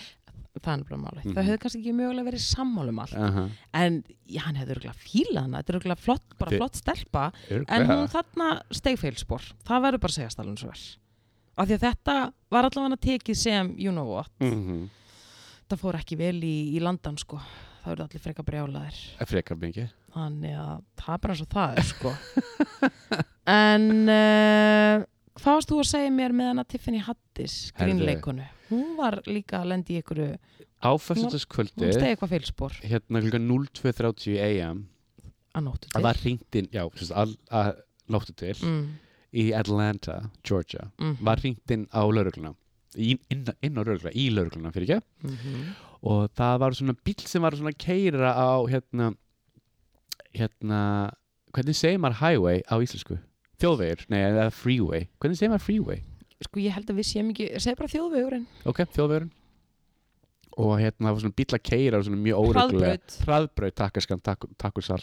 B: það er bara málið,
A: Mhm.
B: það hefði kannski ekki mögulega verið sammálum allt,
A: uh -huh.
B: en já, hann hefði örgulega fílað hana, þetta er örgulega flott, bara
A: Þi-
B: flott stelpa, en hún þarna steigfeilspor, það verður bara að segjast alveg svo vel, af því að þetta var allavega tekið sem, you know what
A: Mhm.
B: það fór ekki vel í, í landan sko, það eru allir freka brjálaðir
A: frekar mikið
B: þannig að það er bara eins og það er sko en uh, hvað varst þú að segja mér með hana Tiffany Hattis
A: Herðu.
B: grínleikonu, hún var líka að lendi í einhverju,
A: á
B: hún
A: fyrstutaskvöldi
B: stegi eitthvað fylspor
A: hérna klukkan 02.30 am
B: að nóttu til
A: að það hringdi inn, já, sérst, að, að nóttu til
B: mm,
A: í Atlanta, Georgia
B: mm,
A: var hringt inn á laurugluna inn, inn á laurugluna, í laurugluna fyrir ekki
B: mm -hmm.
A: og það var svona bíl sem var svona að keira á hérna hérna, hvernig segir maður highway á íslensku? Þjóðvegir, nei, eða freeway hvernig segir maður freeway?
B: sko ég held að við séum ekki, segð bara þjóðvegurinn
A: Ok, þjóðvegurinn og hérna það var svona bíl að keira svona mjög óreglulega
B: hraðbraut,
A: hraðbraut, takkaskan, takk, takkursal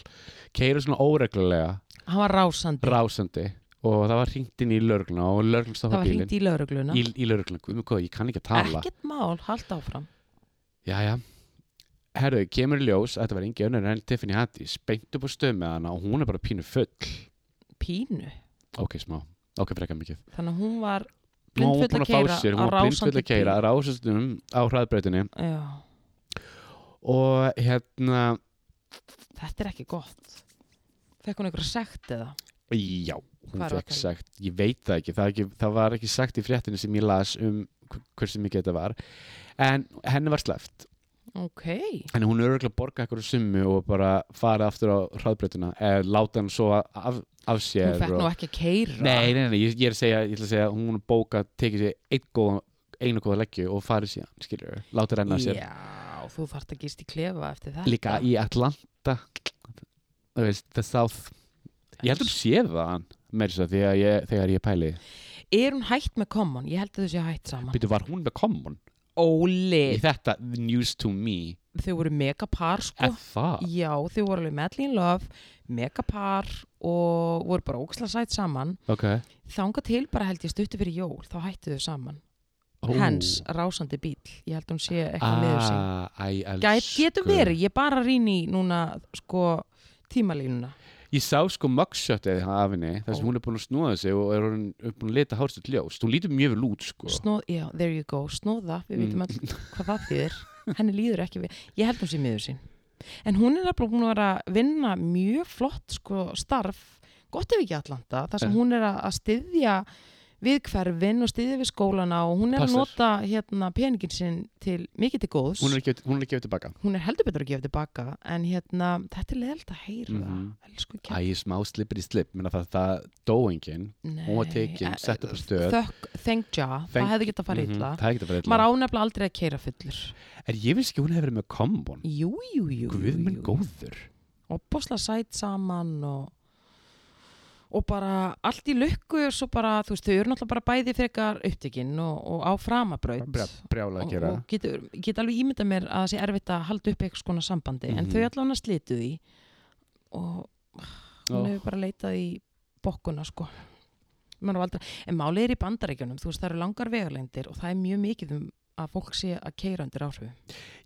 A: keira svona óreglulega
B: hann var rásandi
A: rásandi og það var hringt inn í lörgluna og lörglun
B: það
A: stoppa
B: var
A: bílinn
B: hringt í laurugluna
A: í, í lörgluna, guðmur hvað, ég kann ekki að tala
B: ekkert mál, haldt áfram
A: Jæja, herru, kemur í ljós að þetta var engi önnur en Tiffany Hattis beint upp á stöð með hana og hún er bara pínu full
B: pínu,
A: ok, smá, ok, frekar mikið
B: þannig að hún var
A: Nú, hún var
B: blindfull
A: búin
B: að
A: að fá
B: keyra
A: sér,
B: á
A: hún var blindfull
B: rásandi
A: að keira rásastum á hraðbrautinni
B: bíl. Já,
A: og hérna,
B: þetta er ekki gott fekk hún einhverja sekt eða
A: já hún
B: Hvar var
A: fekk
B: það?
A: sagt, ég veit það ekki, það ekki það var ekki sagt í fréttinu sem ég las um hv- hversu mikið þetta var en henni var sleft
B: ok,
A: En hún er örgulega að borga eitthvað summu og bara fara aftur á hraðbreytuna eða láta hann svo af, af sér
B: Hún fekk nú
A: og...
B: ekki að keira
A: Nei, nei, nei, ég, ég er að segja, ég ætla að segja að hún bóka, tekið sér einn góða einu góða leggju og farið síðan, skilur við, láta renna af sér
B: Já, þú þarft að gist í klefa eftir þetta
A: líka í Atlanta þú veist, the south ég heldur sé það hann meir svo þegar ég, þegar ég pæli
B: Er hún hætt með common? Ég held að þau séu hætt saman
A: Býtu, var hún með common? Í
B: Óli,
A: þetta, news to me
B: þau voru megapar sko
A: er það?
B: Já, þau voru alveg medley in love megapar og voru bara óksla sætt saman
A: Ok
B: Þanga til bara held ég stuttu fyrir jól þá hættu þau saman
A: Ó.
B: Hens, rásandi bíl Ég held hún sé eitthvað miður sín
A: Ah, æ,
B: Gæt, Getur
A: elsku.
B: verið, ég bara rýn í núna sko tímalínuna
A: Ég sá sko mugshotið af henni þar
B: Ó.
A: sem hún er búin að snúða sig og er orðin- er búin að leta hárstuð ljóst. Hún lítur mjög vel út sko.
B: Snóð, já, there you go, snóða, við vitum
A: Mm.
B: öll hvað það þýðir, henni líður ekki við, ég held hún sé miður sín. En hún er nefnilega búin að vera að vinna mjög flott sko, starf, gott ef ekki Atlanta, þar sem
A: Eh.
B: hún er að- að styðja við hverfin og styðja við skólana og hún er
A: Passar.
B: að nota hérna, peningin sinn til mikið til góðs.
A: Hún er ekki hún er ekki gefið tilbaka.
B: Hún er heldur betur að gefa tilbaka, en hérna, þetta er leðalt að heyra,
A: Mhm.
B: elsku kemur.
A: Æ, smá slipper í slip, menna það, það dó enginn. Hún var tekin, sett upp á stöð.
B: Eh, Þökk, thank ja, það
A: Thank-
B: hefði getað farið
A: Mhm,
B: illa.
A: Það er ekki að fara illa.
B: Maður ánefnilega aldrei að keira fullur.
A: En ég veist ekki að hún hefur verið með kombon.
B: Jú, jú, jú.
A: Guð
B: jú,
A: minn
B: jú.
A: góður.
B: Og bosla sæt saman og, og bara allt í lukku og svo bara, þú veist, þau eru náttúrulega bara bæði frekar upptekinn og, og á framabraut.
A: Brjá, brjála að
B: Og,
A: gera.
B: og getur, get alveg ímyndað mér að það sé erfitt að halda upp eitthvað skona sambandi, en
A: Mhm.
B: þau allan að slitu því og hún
A: Ó.
B: hefur bara leitað í bokkuna, sko. Maður á Aldrei, en málið er í bandarækjunum, þú veist, það eru langar vegarlendir og það er mjög mikið um að fólk sé að keira undir áhrifum.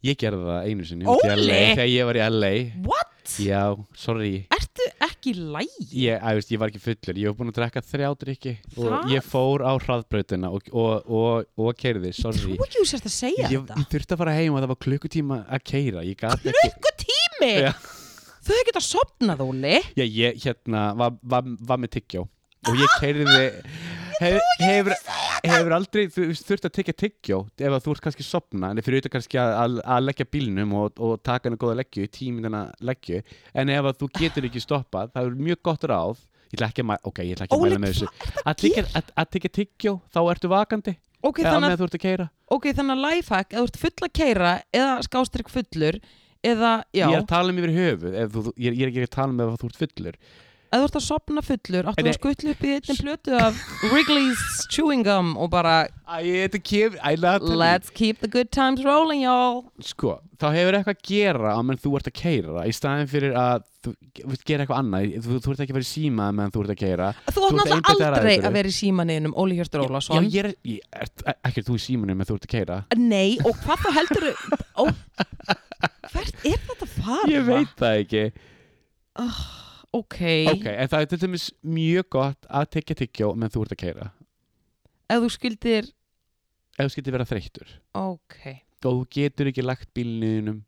A: Ég gerði það einu sinni.
B: Óli!
A: út í LA, Þegar ég var í LA.
B: What?
A: Já, sorry.
B: Ertu ekki ekki í lægi
A: Ég, að, veist, ég var ekki fullur, ég var búin að drekka þrjá drikki og
B: Það?
A: ég fór á hraðbrautina og, og, og, og keiriði, sorry
B: Trú ekki þú sérst að segja
A: ég,
B: þetta
A: ég þurfti að fara heim og það var klukkutíma að keira ég gat ekki,
B: Tími,
A: Já.
B: þau geta sopnað, Óli
A: já, ég hérna var, var, var með tyggjó og ég
B: Ah,
A: keiriði hef, hefur, hefur aldrei þú veist, þurft að tekja tyggjó ef að þú ert kannski sopna en fyrir auðvitað kannski að, að, að leggja bílnum og, og taka henni góða leggju, tímindina leggju en ef að þú getur ekki stoppað það er mjög gott ráð ég ætla ekki að, mæ- ok, ég ætla ekki að
B: Óli,
A: mæla með þessu
B: hvað er það
A: að
B: að gera?
A: tyggja- að- að tekja tyggjó, þá ertu vakandi
B: Ok,
A: eða
B: þannig
A: með
B: að,
A: þú ert að keira
B: ok, þannig að lifehack, eða þú ert full að keira eða skástrygg fullur eða, já,
A: ég er að tala um yfir höfuð ef þú, þú- ég, er- ég er ekki að tala um ef þú ert fullur
B: eða þú ert að sopna fullur áttu
A: Nei.
B: að skutlu upp í einni plötu af Wrigley's Chewing Gum og bara
A: Æ, þetta kemur, æ, Natalie
B: Let's keep the good times rolling, y'all
A: Sko, þá hefur eitthvað að gera á meðan þú ert að keira í staðin fyrir að þú vilt gera eitthvað annað, þú, þú ert ekki að vera í síma á meðan þú ert að keira
B: Þú átt
A: ert
B: náttúrulega
A: einbeittur að
B: aldrei
A: einhverju.
B: að vera í símaninum Óli Hjörtur
A: Já,
B: Ólafsson
A: ég er, ég, er, ekki er þú í símanum meðan þú ert að keira
B: Nei, og hvað þá heldur Ó, Hvert er þetta að fara?
A: Ég veit það ekki
B: Ok,
A: Ok, en það er til dæmis mjög gott að tekja tyggjó meðan þú ert að keira
B: ef þú skildir
A: ef þú skiltir vera þreyttur
B: Ok,
A: og þú getur ekki lagt bílninum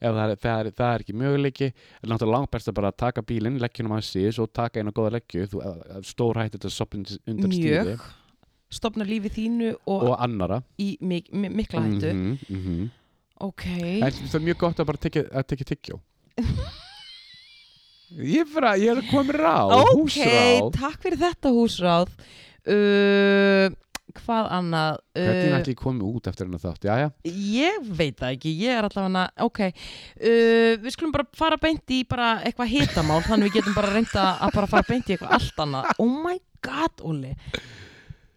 A: ef það er, það er, það er ekki möguleiki er náttúrulega langt best að bara taka bílinn leggjunum að síðis og taka eina góða leggju þú eh, stór hætti þetta soppin undan stýri
B: mjög Stopna lífi þínu og,
A: og annara
B: í mik mi- mikla hættu
A: Mhm, mhm.
B: Ok,
A: En það er mjög gott að bara tekja, að tekja tyggjó Ég er bara, ég er komin ráð
B: ok,
A: húsráð
B: takk fyrir þetta húsráð uh, Hvað annað?
A: Hvernig
B: Uh,
A: ætli ég komi út eftir hennar þátt, jæja
B: ég veit það ekki, ég er allavega ok, uh, við skulum bara fara beint í bara eitthvað hitamál þannig við getum bara reynda að bara fara beint í eitthvað allt annað, oh my god Óli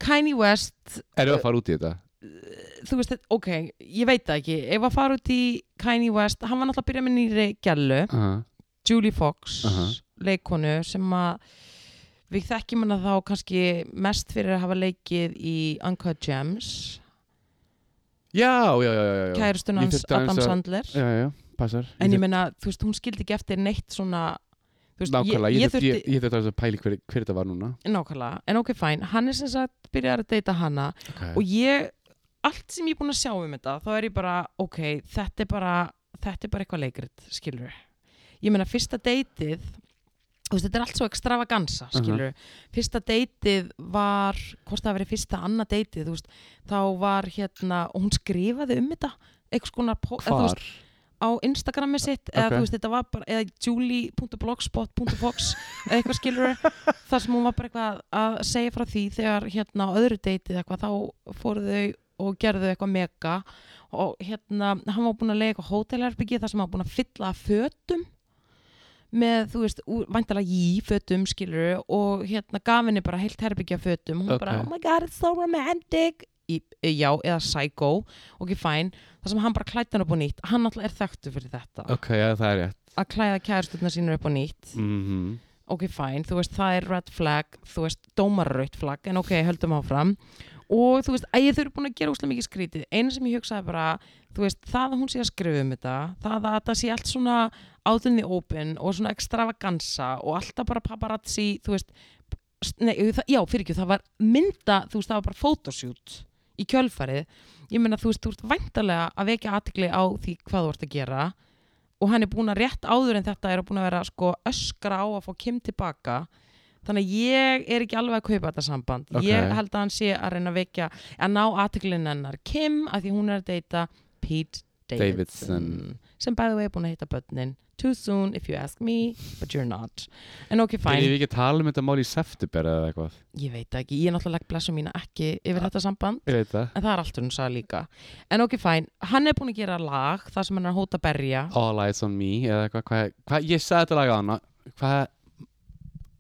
B: Kanye West
A: Erum við að fara út í þetta?
B: þú veist, þetta- ok, ég veit það ekki ef að fara út í Kanye West hann var náttúrulega að byrja með nýri gælu
A: Uh,
B: Julie Fox,
A: Aha.
B: leikonu sem að við þekkjum hana þá kannski mest fyrir að hafa leikið í Uncut Gems
A: já, já, já, já, já.
B: kærustun
A: Ég
B: hans
A: þurfti aðeins
B: Adam
A: að-
B: Sandler
A: Já, já, já, passar
B: En ég meina, þú veist, hún skildi ekki eftir neitt svona þú veist,
A: Nákvæmlega,
B: ég,
A: ég,
B: ég þurfti,
A: ég þurfti að pæli hver, hver þetta var núna
B: Nákvæmlega, en ok, fæn Hann er sem sagt byrjar að deyta hana
A: okay.
B: og ég, allt sem ég er búin að sjá um þetta þá er ég bara, ok, þetta er bara þetta er bara eitthvað leikrit, skilur Ég meina, fyrsta deytið þú veist, þetta er allt svo extravagansa, skilur Fyrsta deytið var hvort það hafi verið fyrsta annað deytið, þú veist þá var hérna, og hún skrifaði um þetta eitthvað skona
A: Hvar?
B: á Instagrami sitt
A: Ok.
B: eða þú veist þetta var bara eða julie.blogspot.fox eða eitthvað skilur þar sem hún var bara eitthvað að segja frá því þegar hérna á öðru deitið eitthvað þá fóru þau og gerðu eitthvað mega og hérna hann var búin að lega eitthvað hótelherbyggi þar sem hann var búin að fylla af fötum með þú veist vantalega í fötum skilur og hérna gaf henni bara heilt herbyggja fötum hún bara
A: Ok.
B: oh my god it's so romantic í, já eða psycho ok fine þar sem hann bara klætti hann upp á nýtt hann alltaf er þekktu fyrir þetta
A: Ok, já, það er rétt
B: að klæða kærastutna sínur upp á nýtt
A: mm
B: ok fæn, þú veist það er red flag þú veist dómarraut flag en ok, höldum áfram og þú veist, að ég þau eru búin að gera úslega mikið skrítið eina sem ég hugsaði bara, þú veist, það að hún sé að skrifa um þetta, það að það sé allt svona átunni open og svona extravagansa og alltaf bara paparazzi þú veist, s- nei, það, já, fyrir ekki það var mynda, þú veist, það var bara photoshoot í kjölfarið ég meina, þú veist, þú ert væntalega að vekja aðtikli á því hvað þú ert að gera og hann er búin að rétt áður en þetta er búin að vera sko öskra á að fá Kim tilbaka þannig að ég er ekki alveg að kaupa þetta samband
A: Ok.
B: ég held að hann sé að reyna að vekja að ná aðtiklinn hennar Kim að því hún er að deyta Pete Davidson,
A: Davidson.
B: sem by the way er búin að heita börnin too soon if you ask me, but you're not en ok,
A: Þegar
B: fine,
A: ég ekki að tala um þetta mál í september eða eitthvað
B: ég veit það ekki ég er náttúrulega legg blessum mína ekki yfir þetta samband
A: Ég veit það
B: en það er allt hún sagði líka en ok, fine, hann er búin að gera lag þar sem hann er að hóta berja
A: All Eyes on Me eða eitthvað hva, hva, ég sagði þetta laga hana hvað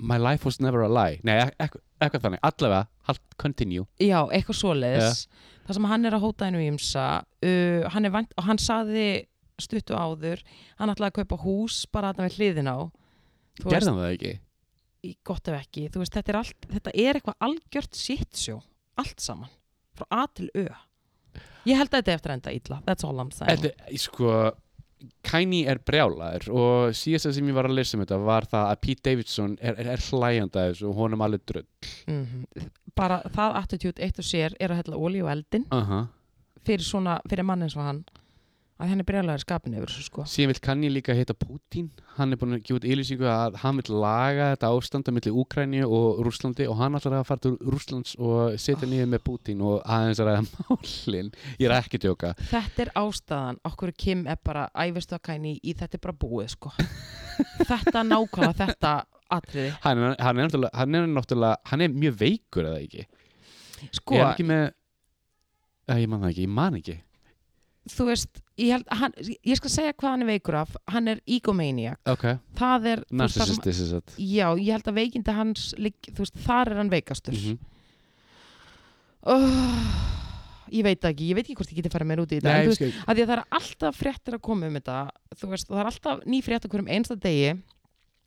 A: My Life Was Never a Lie nei, ek- ek- eitthvað þannig, allavega halt, continue
B: já, eitthvað svoleiðis þar sem hann er að hóta hennu ímsa uh, hann er vant, og hann sagði stuttu áður, hann ætlaði að kaupa hús bara að það með hliðin á Þú veist,
A: gerðan það ekki
B: í- gott ef ekki, þú veist, þetta er, allt, þetta er eitthvað algjört sittsjó, allt saman frá A til Ö ég held að þetta er eftir enda illa, that's all I'm saying
A: Þetta, sko, Kanye er brjálaður og síðast sem ég var að lesa um þetta var það að Pete Davidson er, er, er hlæjanda þessu og honum alveg drull
B: Mhm. bara það attitude eitt og sér er að hella olíu og eldin
A: uh -huh.
B: fyrir svona, fyrir mann eins og hann að henni brjálæður skapin yfir þessu sko
A: síðan vil Kanye líka heita Putin hann er búin að gefa út yfirlýsingu að hann vil laga þetta ástand á milli Úkræni og Rúslandi og hann ætlar að fara til Rúslands og setja niður með Putin og aðeins að ræða málin ég er ekki að djóka
B: þetta er ástæðan, okkur Kim er bara æfistu að kæni í þetta er bara búið sko þetta nákvæmlega þetta atriði,
A: hann er, hann, er náttúrulega- hann er náttúrulega hann er mjög veikur eða ekki
B: sko
A: er hann ekki með Æ, ég man það ekki, ég man ekki
B: þú veist, ég held hann, ég skal segja hvað hann er veikur af, hann er egomaniac,
A: ok,
B: það er þú veist, það sem-
A: narcissist is it
B: já, ég held að veikindi hans ligg- þú veist, þar er hann veikastur
A: Mhm.
B: oh, ég veit það ekki, ég veit ekki hvort ég geti farið meir út í þetta en
A: Nei,
B: þú
A: ég
B: veist,
A: skil-
B: að því að það er alltaf fréttir að koma um þetta þú veist, og það er alltaf ný frétt okkur um einsta degi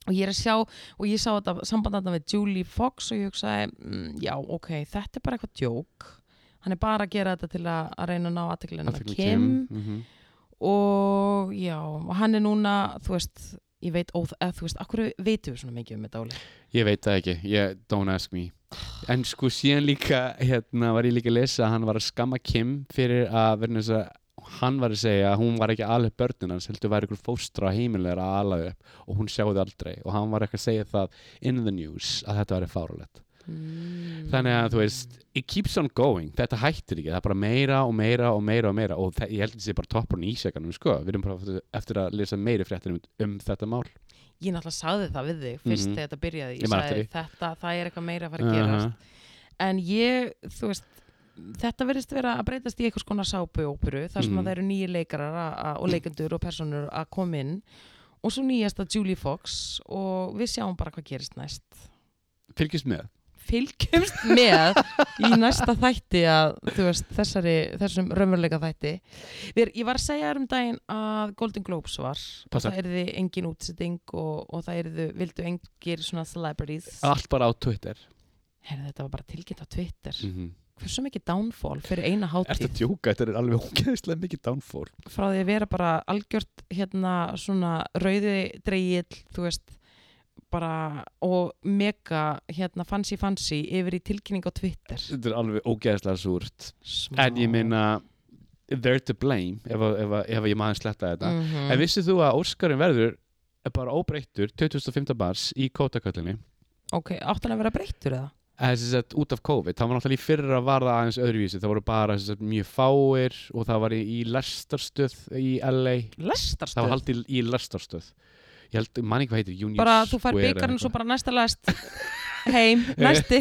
B: og ég er að sjá og ég sá þetta sambandanda með Julie Fox og ég hugsaði, mm, já, ok þetta er bara eitthvað djók hann er bara að gera þetta til að, að reyna að ná aðteklina
A: Athygli
B: Kim,
A: Kim, mhm.
B: og já, og hann er núna þú veist, ég veit óð eða þú veist, akkur veitum við svona mikið um þetta Óli
A: Ég veit það ekki, ég, don't ask me En sko síðan líka hérna var ég líka að lesa að hann var að skamma Kim fyrir að verðin þess að hann var að segja að hún var ekki alveg börnin hans heldur væri ykkur fóstra heimilegur að ala upp og hún sjáði aldrei og hann var ekki að segja það in the news að þetta væri fárulegt
B: mm.
A: þannig að þú veist, it keeps on going þetta hættir ekki, það er bara meira og meira og meira og meira og það, ég held að þetta sé bara toppurinn í ísjakanum sko, við erum bara eftir að lesa meiri fréttir um, um þetta mál
B: ég náttúrulega sagði það við þig fyrst
A: Mhm.
B: þegar þetta byrjaði,
A: Ég
B: ég
A: man
B: sagði
A: eftir
B: þetta það er eitthvað meira að fara að gerast
A: Uh-huh.
B: en ég, þú veist þetta verðist vera að breytast í einhvers konar sápuóperu þar sem
A: Mhm.
B: að það eru nýjir leikarar a- a- og leikendur og personur að koma inn og svo nýjasta Julie Fox og við sjáum bara hvað gerist næst
A: Fylgjast með
B: fylgjumst með í næsta þætti að þú veist þessari, þessum raunveruleika þætti Við, ég var að segja þér um daginn að Golden Globes var
A: Passa.
B: og það erði engin útsetting og, og það erðu, vildu engir svona celebrities
A: allt bara á Twitter
B: Herðu, þetta var bara tilkynnt á Twitter
A: mm
B: hversu mikið downfall fyrir eina
A: Er
B: hátíð
A: þetta djóka? Þetta er alveg ógeðislega mikið downfall.
B: frá því að vera bara algjört hérna svona rauði dreigill, þú veist bara og mega hérna fancy fancy yfir í tilkynning á Twitter
A: Þetta er alveg ógeðislega súrt.
B: Smá.
A: En ég meina, they're to blame ef, að- ef, að- ef að ég maður sletta þetta.
B: Mhm.
A: En vissið þú að Óskarinn verður eh, bara óbreyttur 2015 mars í kótakallinni?
B: ok, átt hann að vera breyttur eða?
A: Þess að Eh, út af COVID, það var náttúrulega í fyrra var það aðeins öðruvísi, það voru bara sem sagt, mjög fáir og það var í, í lestarstöð í LA, það var
B: lestarstöð
A: haldið í, í lestarstöð ég held, manni hvað heitir, Union
B: bara þú fær
A: Square eða
B: byggarinn og svo
A: eitthvað.
B: bara næsta lest heim, næsti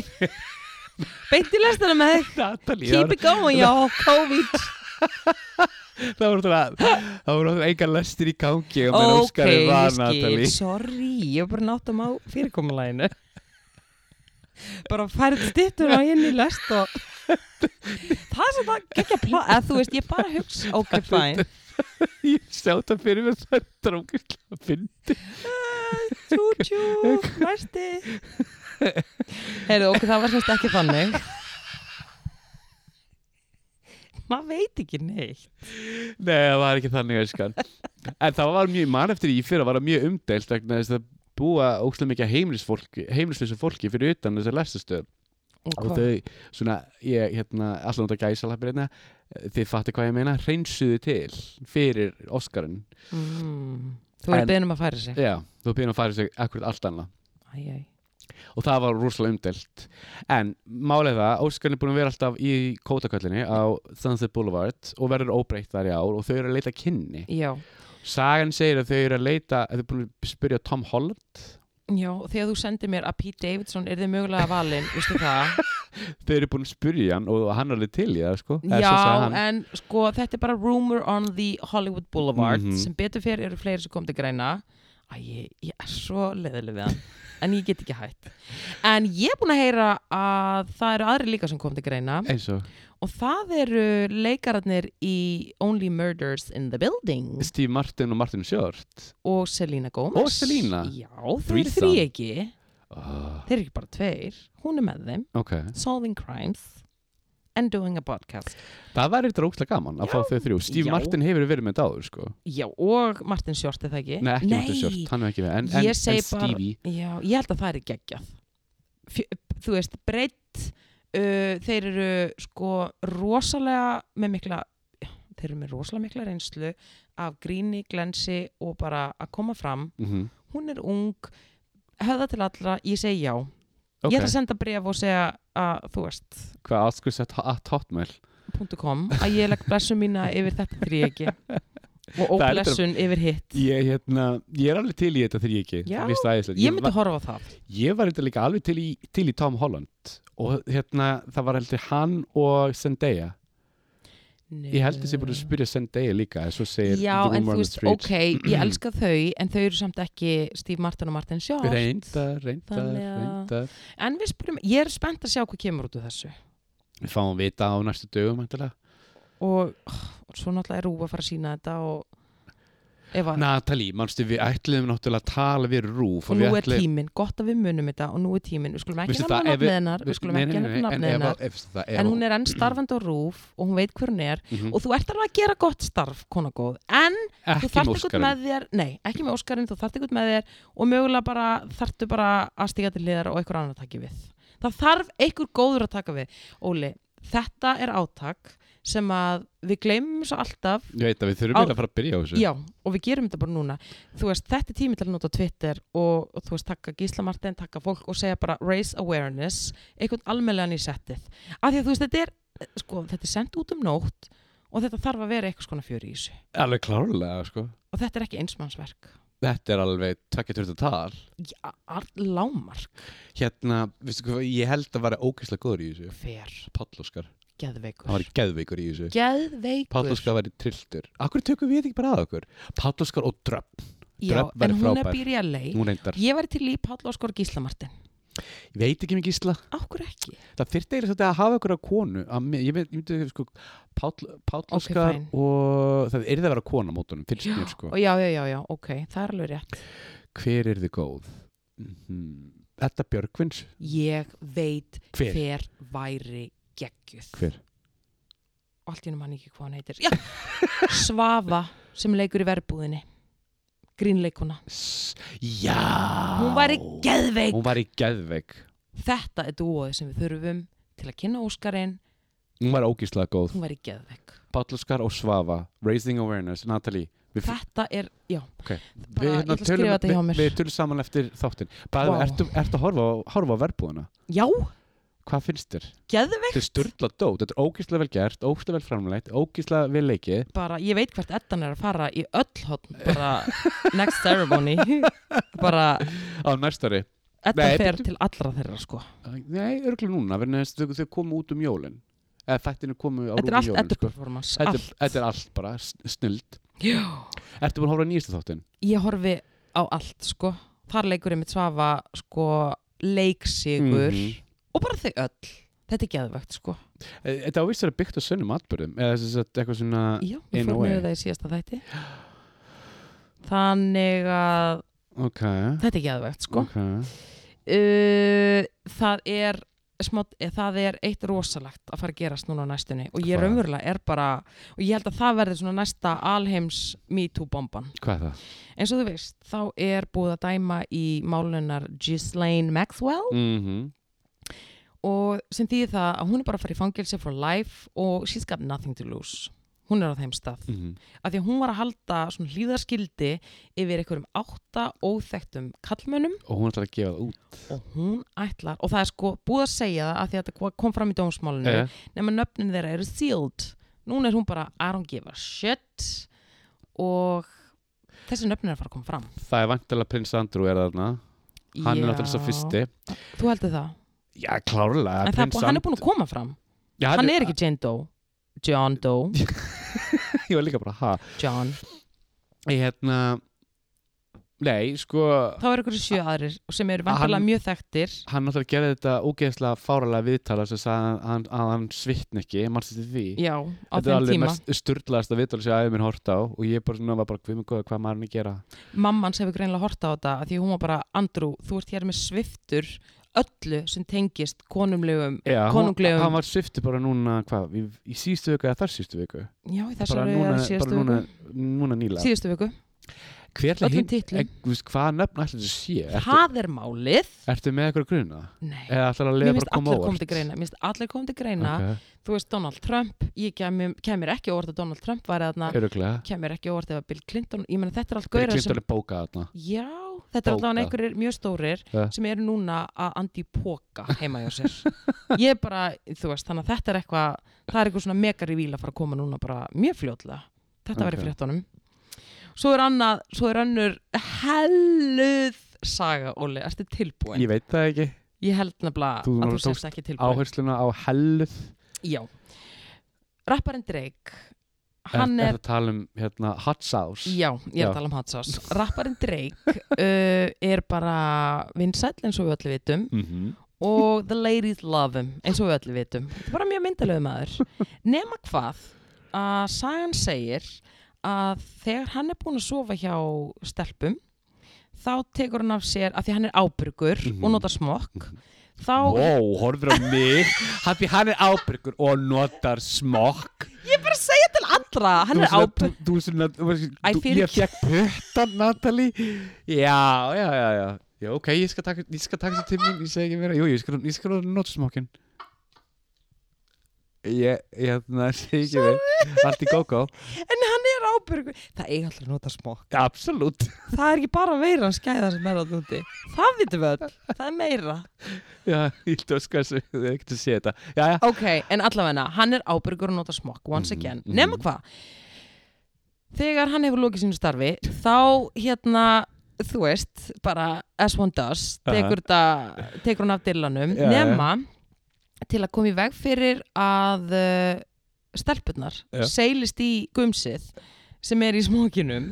B: beint í lestina með þig
A: Natalie, það var-
B: keep it going y'all, COVID
A: það voru náttúrulega það voru náttúrulega engar lestir í gangi og
B: ok,
A: meðan Óskari
B: ég
A: var
B: skil,
A: Natalie
B: sorry ég var bara náttum á fyrirkomulæginu bara færð stittur á henni lest og það sem það gekkja plá eða þú veist, ég bara hugsa, ok, fine
A: ég sjá það fyrir mér það er drókislega fyndi
B: tjú, tjú, næsti heyrðu, ok, það var semst ekki þannig maður veit ekki neitt
A: nei það var ekki þannig elskan en það var mjög, mann eftir í fyrra var það mjög umdelt vegna þess að búa ógstlega mikið heimilisfólki, heimilisfólki fólki fyrir utan þessar lestastöð og
B: hvað?
A: þau svona, ég hérna alltaf náttúrulega gæsa lappir hérna þið fattu hvað ég meina, reynsuðu til fyrir Óskarinn
B: mm, þú er
A: En-
B: beðin um að færa sig
A: já, þú byrjum að fara sig akkurat allt annað
B: æ, æ.
A: og það var rosalega umdelt en málið er það, Óskarn er búin að vera alltaf í kótakallinni á Sunset Boulevard og verður óbreytt þar í ár og þau eru að leita kynni
B: já
A: Sagan segir að þau eru að leita að þau eru búin að spyrja Tom Holland
B: Já, þegar þú sendir mér að Pete Davidson er þið mögulega valinn, veistu það?
A: þau eru búin að spyrja hann og hann er alveg til í það sko Eða svo
B: Já,
A: sagði hann.
B: en sko, þetta er bara rumor on the Hollywood Boulevard
A: Mhm.
B: sem betur fyrir eru fleiri sem kom til greina Æ, ég, ég er svo leðileg við hann en ég get ekki hætt En ég er búin að heyra að það eru aðri líka sem kom til greina
A: eins og
B: og það eru leikararnir í Only Murders in the Building
A: Steve Martin og Martin Short
B: og Selena Gomez
A: Og Selena?
B: Já, þeir eru
A: Threesome.
B: þrý ekki
A: oh,
B: Þeir eru ekki bara tveir, hún er með þeim
A: ok,
B: Solving Crimes and doing a podcast
A: það væri þetta ógstlega gaman að fá þau þrjú Steve
B: já.
A: Martin hefur verið með þetta áður sko.
B: já, og Martin Short er það ekki
A: nei, ekki Martin Short, hann er ekki með en, en,
B: Ég segi
A: en Stevie,
B: já, ég held að það er geggjað Fjö, þú veist, breytt uh, þeir eru sko rosalega með mikla þeir eru með rosalega mikla reynslu af gríni, glensi og bara að koma fram,
A: bara...
B: hún er ung höfða til allra, ég segi já
A: ok,
B: ég ætla að senda bref og segja að þú veist,
A: hvað áskur sett að hotmail
B: .com að ég legg blessun mína yfir þetta þegar ég ekki og
A: Það er
B: óblessun yfir hitt
A: ég, hérna, ég er alveg til í þetta þegar ég ekki
B: Já,
A: Mér finnst það æðislegt.
B: ég
A: var-
B: myndi horfa á það
A: Ég var eitthvað líka alveg til í, til í Tom Holland og hérna það var heldur hann og Zendaya ég held þessi búin að spyrja Zendaya líka en svo segir
B: Eh. Já,
A: The
B: en þú
A: Rumor on the
B: veist,
A: Street
B: ok, ég elska þau en þau eru samt ekki Steve Martin og Martin Short
A: reyndar, reyndar,
B: Þannig að-
A: reyndar
B: en við spyrjum, ég er spennt að sjá hvað kemur út úr þessu
A: við fáum að vita á næstu dögum mæntilega.
B: og oh, svo náttúrulega er Rúf að fara að sína þetta og ef að
A: Natalie, manstu við ætluðum náttúrulega að tala við Rúf
B: og
A: við
B: nú er tíminn, gott að við munum þetta og nú er tíminn, við skulum ekki
A: Veistu
B: nefna
A: það, ef við-
B: nafnið hennar við skulum ekki nefna nafnið hennar en hún er enn starfandi á Rúf og hún veit hver hún er
A: Mm.
B: og þú ert alveg að gera gott starf, kona góð en þú
A: Mhm. ekki
B: þarft eitthvað
A: með Óskarinn
B: með þér nei, ekki með Óskarinn, þú þarft eitthvað með þér og mögulega bara þarftu bara að stíga til liðar og einhver annar að taka við það þarf einhver góður að taka við Óli, þetta er átak sem að við gleymum svo alltaf
A: ég veit að við þurfum
B: Á-
A: eiginlega að fara að byrja á þessu
B: já, og við gerum þetta bara núna þú veist, þetta er tími til að nota Twitter og, og þú veist, taka Gísla Martin, taka fólk og segja bara raise awareness einhvern almennlegan í settið af því að þú veist, þetta er, eh, sko, þetta er sendt út um nótt og þetta þarf að vera eitthvað svona fjöri í þessu
A: alveg klárlega sko
B: og þetta er ekki einsmannsverk
A: þetta er alveg tvekja törtu tal
B: Já, all- lágmark
A: hérna, veistu hvað, ég held að vera ógeðslega góður í þessu
B: fer
A: Páll Óskar,
B: geðveikur
A: hann var geðveikur í þessu Páll
B: geðveikur
A: Óskar væri trilltur Akkur tökum við ekki bara að okkur Páll Óskar og Dröpp,
B: Já,
A: Dröfn væri
B: en hún er
A: frábær.
B: býr í LA
A: hún reyndar
B: ég væri til í Páll Óskar Gíslamartin
A: Ég veit ekki mikið Ísla,
B: ákvör ekki
A: það þyrfti eiginlega svolítið að hafa okkur að konu að, mér- Ég veit, ég myndi sko Páll, Páll
B: Ok,
A: Óskar
B: fine.
A: og það er það að vera kona á mótunum, finnst mér sko
B: og já, já, já, já, ok, það er alveg rétt
A: Hver er þið góð? Mm Edda Björgvins,
B: ég veit
A: Hver?
B: væri geggjuð
A: Hver?
B: og allt í hennu mann ekki hvað hann heitir já, Svafa sem leikur í verbúðinni grínleikuna
A: S Já
B: hún væri geðveik
A: Hún væri geðveik
B: þetta er dúoðið sem við þurfum til að kynna Óskarinn
A: Hún væri ógeðslega góð
B: hún væri geðveik
A: Páll Óskar og Svafa, Raising Awareness, Natalie Við
B: þetta er, já
A: Ok.
B: bara, ég ætla að skrifa þetta hjá mér
A: við, við tölum saman eftir þáttin bara wow.
B: Vá.
A: ertu, ertu að horfa, á- horfa á verbúðuna
B: já,
A: hvað finnst þér?
B: geðveik
A: þetta er sturla dót, þetta er ógíslega vel gert ógíslega vel framleitt, ógíslega vel leikið
B: bara, ég veit hvert Eddan er að fara í öll hotn, bara next ceremony bara,
A: á næstari,
B: Eddan
A: Nei,
B: fer
A: bíddu.
B: til allra þeirra sko,
A: nei, örgulega núna vegna þess að þau, þau komu út um jólin eða þættinu komu á
B: þetta er
A: rúm
B: allt
A: jólin
B: Edda
A: sko.
B: performance,
A: þetta,
B: allt
A: þetta er allt bara, snild
B: Já.
A: ertu búin að horfa á nýjasta þáttin?
B: ég horfi á allt sko, þar leikur ég mitt svafa sko, leiksigur
A: Mhm.
B: og bara þau öll þetta er geðvegt sko,
A: E- þetta á vissar að vera byggt á sönnum atbyrðum eða þess að eitthvað svona
B: já,
A: In
B: við
A: a
B: fórum
A: way.
B: yfir það í síðasta þætti þannig að
A: ok,
B: þetta er geðvegt sko
A: ok
B: uh, það er smá, eh, það er eitt rosalegt að fara að gerast núna á næstunni og ég
A: Hvað?
B: raunverulega er bara og ég held að það verði svona næsta alheims MeToo-bomban.
A: hvað er það?
B: Eins og þú veist, þá er búið að dæma í málunar Ghislaine Maxwell
A: Mm
B: og sem þýðir það að hún er bara að fara í fangelsi for life og she's got nothing to lose. Hún er á þeim
A: Mm.
B: stað.
A: Mhm.
B: Af því að hún var að halda svona hlýðarskildi yfir einhverjum átta óþektum kallmönnum
A: og hún ætlar að gefa það út
B: og hún ætlar og það er sko búið að segja það af því að þetta kom fram í dómsmálinu
A: Eh,
B: nema nöfnin þeirra eru sealed núna er hún bara I don't give a shit og þessi nöfnin er að fara að koma fram
A: það er vantilega prins Andrew er þarna hann er
B: Já.
A: náttúrulega svo fyrsti
B: þú heldur það,
A: já, klárlega
B: en það er búið, hann er búin að koma fram
A: já,
B: hann er ekki Jane Doe John Doe,
A: ég var líka bara, ha
B: John
A: ég hérna nei, sko
B: þá eru ykkur sjö aðrir sem eru
A: Hann-
B: vantilega mjög þekktir
A: hann náttúrulega gerði þetta ógeðslega fáralega viðtala sem sagði að hann, að hann svitn ekki mannstu til því
B: já, á
A: Þetta er
B: þeim
A: alveg
B: tíma
A: mest sturlaðasta viðtala sem aðeins minn horta á og ég bara svona var bara hvað minn góða hvað maður hann að gera
B: mamman sem hefur greinlega horta á þetta af því hún var bara, Andrew, þú ert hér með sviftur öllu sem tengist konumlegum
A: Já, hún,
B: Konunglegum.
A: hann var sviftu bara núna, hvað, í, í síðustu viku eða þar síðustu viku
B: já, í
A: bara
B: þessari
A: núna,
B: eða síðustu
A: bara núna,
B: viku
A: núna nýla
B: síðustu viku,
A: Hver er
B: öllum
A: hinn,
B: titlum.
A: ek, þú veist, hvaða nöfn ætlir þetta sé? Ertu,
B: það er málið
A: ertu með eitthvað gruna?
B: nei,
A: Eða ætlar að
B: mér
A: leiða bara
B: finnst
A: að koma
B: allir
A: óvart?
B: komið til greina mér finnst allir komið til greina, þú veist Donald Trump ég kemur, kemur ekki á orð að Donald Trump var eða
A: Ok, öruglega
B: kemur ekki á orð eða Bill Clinton, ég menna þetta er allt
A: Bill
B: gaurar
A: Clinton
B: sem,
A: er bókað þarna Eh,
B: já, þetta er
A: Bóka.
B: allavega einhverjir mjög stórir
A: Ja.
B: sem eru núna að andi póka heima hjá sér ég er bara, þú veist, þannig að þetta er eitthvað það er eitthvað svona mega revíl að fara að koma núna bara mjög fljótlega, þetta okay.
A: Ok.
B: væri fréttunum svo er annað, svo er önnur helluð saga, Óli, ertu tilbúin?
A: Ég veit það ekki
B: Ég held nefnilega
A: Þú
B: að
A: nú
B: þú
A: tókst
B: sérst ekki tilbúin
A: Áhersluna á helluð
B: Já Rapparinn Drake
A: Er,
B: Hann
A: er
B: er,
A: að tala um hérna, hot sauce
B: já, ég er
A: Já.
B: að tala um hot sauce Rapparinn Drake uh, er bara vinsæll eins og við öllu vitum
A: Mhm.
B: og the ladies love him eins og við öllu vitum Þetta er bara mjög myndalegu maður Nema hvað að sagan segir að þegar hann er búin að sofa hjá stelpum þá tekur hann af sér að því hann er ábyrgur
A: Mhm.
B: og notar smokk þá
A: Wow, horfir á mig hann, því hann er ábyrgur og notar smokk
B: bara segja til allra hann er ábyrgur
A: Þú svona, þú veist,
B: Æ,
A: þú-
B: fyrir-
A: ég fekk puttan Natalie Já, já, já, já Já, ok, ég skal taka, ég skal taka þessu til mín, ég segi ekki meira, jú, ég skal, ég skal nota smokkin. Ég, hérna, ég, það segi ekki meira, allt í gógó,
B: En hann er ábyrgur. Það eiga allir að nota smokk.
A: absolutt.
B: Það er ekki bara veiran skæðan sem er að núti. Það vitum við öll. Það er meira.
A: Já, ég döskar þessu, þið er ekkert að sé þetta. Já, já,
B: Ok, en allavegna, hann er ábyrgur að nota smokk, once
A: Mhm,
B: again.
A: mhm.
B: Nefnum hvað? Þegar hann hefur lokið sínu starfi, þá hérna, þú veist, bara as one does,
A: Aha.
B: tekur, þetta, tekur hann af dillanum,
A: Já, já.
B: nema til að koma í veg fyrir að uh, stelpunnar
A: Já.
B: seilist í gumsið sem er í smokkinum,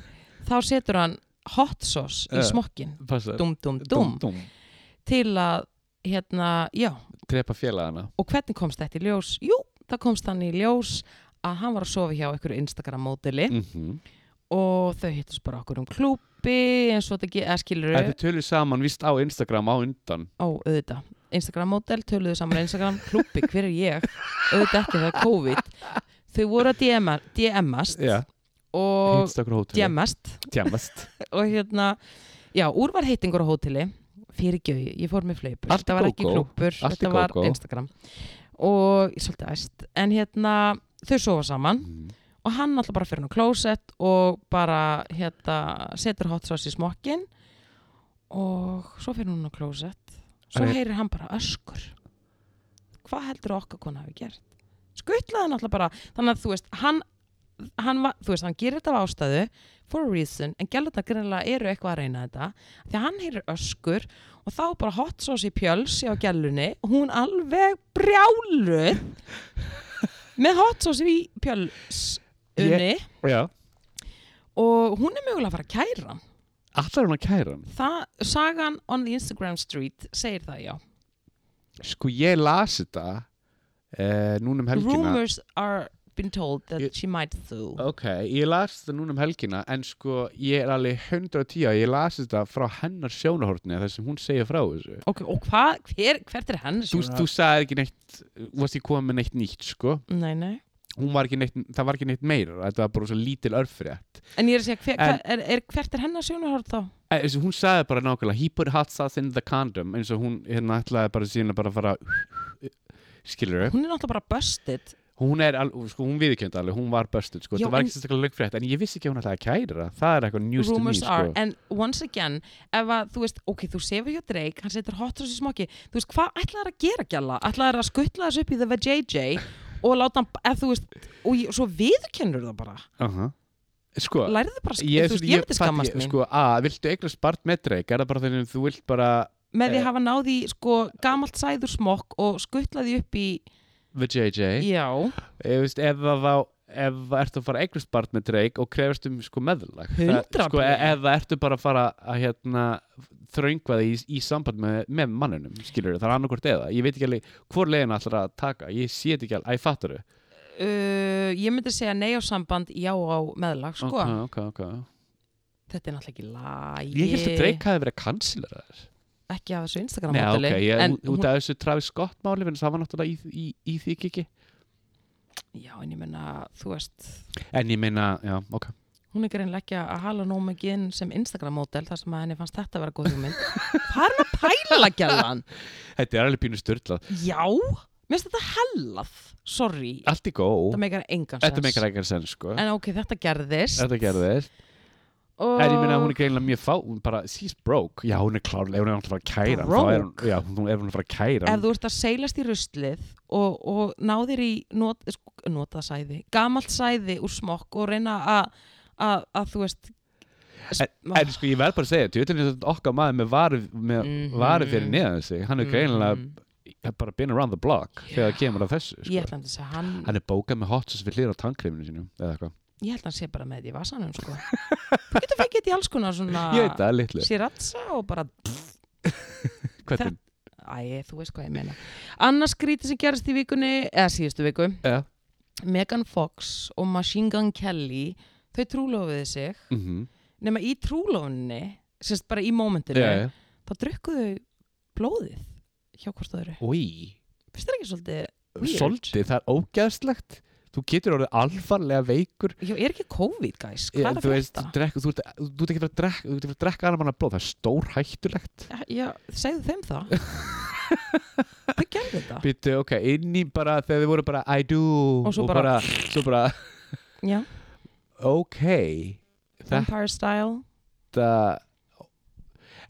B: þá setur hann hot sauce í
A: Já.
B: smokkin
A: passa.
B: dum, dum, dum,
A: dum.
B: til að hérna, já,
A: Trepa félagana.
B: og hvernig komst þetta í ljós? Jú, það komst hann í ljós að hann var að sofa hjá einhverju Instagram-módeli
A: Mm
B: og þau hittust bara okkur um klúpi eins og þetta ekki, eða skilur
A: Þetta tölur saman vist á Instagram á undan.
B: á auðvitað. Instagram-módel, töluðu saman á Instagram, klúpi, hver er ég? Auðvitað ekki, það er COVID. Þau voru að DM-a- DM-ast
A: Já,
B: og
A: Instagram hótel.
B: DM-ast
A: Djemast.
B: og hérna, já, úr var heitingur á hóteli fyrir gjöi, ég fór með fleipur
A: Allt
B: þetta var ekki
A: gógó,
B: klúpur,
A: allt í
B: þetta var
A: gógó.
B: Instagram og ég er svolítið æst en hérna, þau sofa saman
A: Mhm.
B: og hann alltaf bara fyrir hann á klósett og bara hérna, setur hot sauce í smokkin og svo fyrir hún á klósett svo
A: Hann er-
B: heyrir hann bara öskur hvað heldur okkar kona hafi gert skuttlaði hann alltaf bara þannig að þú veist hann, hann, var, þú veist, hann gerir þetta af ástæðu for a reason, en gælutnar greinilega eru eitthvað að reyna þetta því að hann heyrir öskur og þá bara hot sauce í pjöls á gælunni, hún alveg brjáluð með hot sauce í pjölsunni
A: Já.
B: og hún er mögulega að fara að kæra hann.
A: Allar hún að kæra hann.
B: það, sagan on the Instagram street segir það já,
A: Sko ég las þetta eh, núna um helgina.
B: rumors are been told that
A: Ég-
B: she might do
A: Ok, ég las þetta núna um helgina en sko ég er alveg 110 að ég las þetta frá hennar sjónahortni þar sem hún segir frá þessu.
B: ok, og hvað, hver, hvert er henni
A: Þú, þú sagði ekki neitt, þú varst ekki komið með neitt nýtt sko.
B: nei, nei
A: Hún var ekki neitt, það var ekki neitt meira, þetta var bara svo lítil örfrétt.
B: En ég er að segja, hver,
A: En-
B: hver, er, er, hvert er hennar sjónarhort þá?
A: Eh, þessi, Hún sagði bara nákvæmlega He put hot sauce in the condom eins og hún hérna ætlaði bara síðan að bara fara skilur upp
B: Hún er náttúrulega bara busted.
A: hún er, al- sko, hún viðkjönd alveg, hún var busted sko,
B: Já,
A: það var
B: en-
A: ekki sérstaklega lögfrétt en ég vissi ekki að hún ætlaði að kæra það er eitthvað news to me
B: Rumors are.
A: sko.
B: En once again, ef að þú veist, ok, þú sefur hjá Drake, hann setur hot sauce í smokki. Þú veist, hvað ætlaðar að gera gjalla? Ætlaðar að skuttla þessu upp í The VJJ og láta hann, ef þú veist, og ég, svo viðurkennur það bara.
A: uh sko,
B: Lærðu bara, sk-
A: ég,
B: þú veist,
A: ég,
B: ég myndi
A: fatt
B: skammast
A: ég,
B: mín.
A: sko, að, viltu eignast barn með dreik er það bara þannig að þú vilt bara
B: Með því að
A: eh,
B: hafa náði, sko, gamalt sæður smokk og skuttla því upp í,
A: the JJ
B: já,
A: ég veist, ef það var ef það ertu að fara að eignast barn með dreik og krefast um sko meðlag Það-
B: 100%.
A: sko, e- ef það ertu bara að fara að hérna, þröngva þig í, í samband með, með mannunum, skilur það er annarkvort eða ég veit ekki alveg hvor leiðin ætlar að taka ég sé þetta ekki alveg, að ég fattar þau
B: uh, ég myndi segja nei á samband, já á meðlag, sko.
A: okay, okay, okay.
B: Þetta er náttúrulega ekki lægi.
A: ég held að dreik hafi verið kansilar
B: ekki af þessu Instagram
A: Nei, ok,
B: móteli
A: ég,
B: en
A: út, út af þessu Travis Scott máli en það var náttúrulega í, í, í því kiki
B: já, en ég meina, þú veist
A: En ég meina, já, ok
B: hún er greinlega ekki að hala nóg mikið inn sem Instagram mótel þar sem að henni fannst þetta að vera góð hugmynd hvað er hann að pæla lagjallan?
A: Þetta er alveg pínu styrlað
B: já, mér finnst þetta hellað sorry,
A: Allt í góð,
B: þetta meikar engan
A: þetta
B: sens
A: meikar ekkert senn sko
B: en ok, þetta gerðist
A: Þetta gerðist
B: og...
A: En ég meina hún er greinlega mjög fá, hún bara, she's broke Já, hún er klárlega, ef hún er alltaf að fara að kæra hann, þá er hún,
B: Broke?
A: Já, hún, ef hún er að fara að kæra
B: ef
A: hann,
B: þú ert að seilast í ruslið og, og náðir í not, sko, notað sæði, gamalt sæði úr smokk og reyna að að að þú veist sm-
A: En sko, ég verð bara að segja, tjóðin er þetta okkar maður með varið, með
B: Mhm.
A: varið fyrir neðan sig Hann er greinlega
B: Mm,
A: bara been around the block þegar það kemur að þessu sko.
B: ég ætla að segja hann,
A: Hann er bókað með hot sauce við hlýra á tankreifinu sínum eða eitthvað
B: ég ætla að hann sé bara með því í vasanum sko. þú getur fækkið þetta í alls konar svona
A: Ég veit það, litlu
B: siratsa og bara
A: Hvernig?
B: æ, þú veist hvað ég meina annars skrítið sem gerist í vikunni eða síðustu viku,
A: Já.
B: Megan Fox og Machine Gun Kelly þau trúlofuðu sig
A: Mhm.
B: nema í trúlóninni sérst bara í
A: Já,
B: mómentinu
A: já.
B: þá drukkuðu þau blóðið hjá hvort öðru
A: Í.
B: finnst þér ekki svolítið Weird.
A: Svolítið, það er ógeðslegt Þú getur orðið alfarlega veikur
B: já, er ekki COVID guys, hvað
A: En
B: er
A: Þú
B: að
A: veist,
B: frétta?
A: drekk, þú, ert, þú ert ekki að fara að drekka Þú ert ekki að fara að drekka annar manna blóð Það er stórhættulegt
B: já, segðu þeim það þau gerðu þetta
A: Býttu, ok, inn í bara Þegar þið voru bara I do
B: Ah. Og svo
A: bara,
B: bara-
A: Svo bara,
B: já,
A: ok Þetta
B: Vampire Style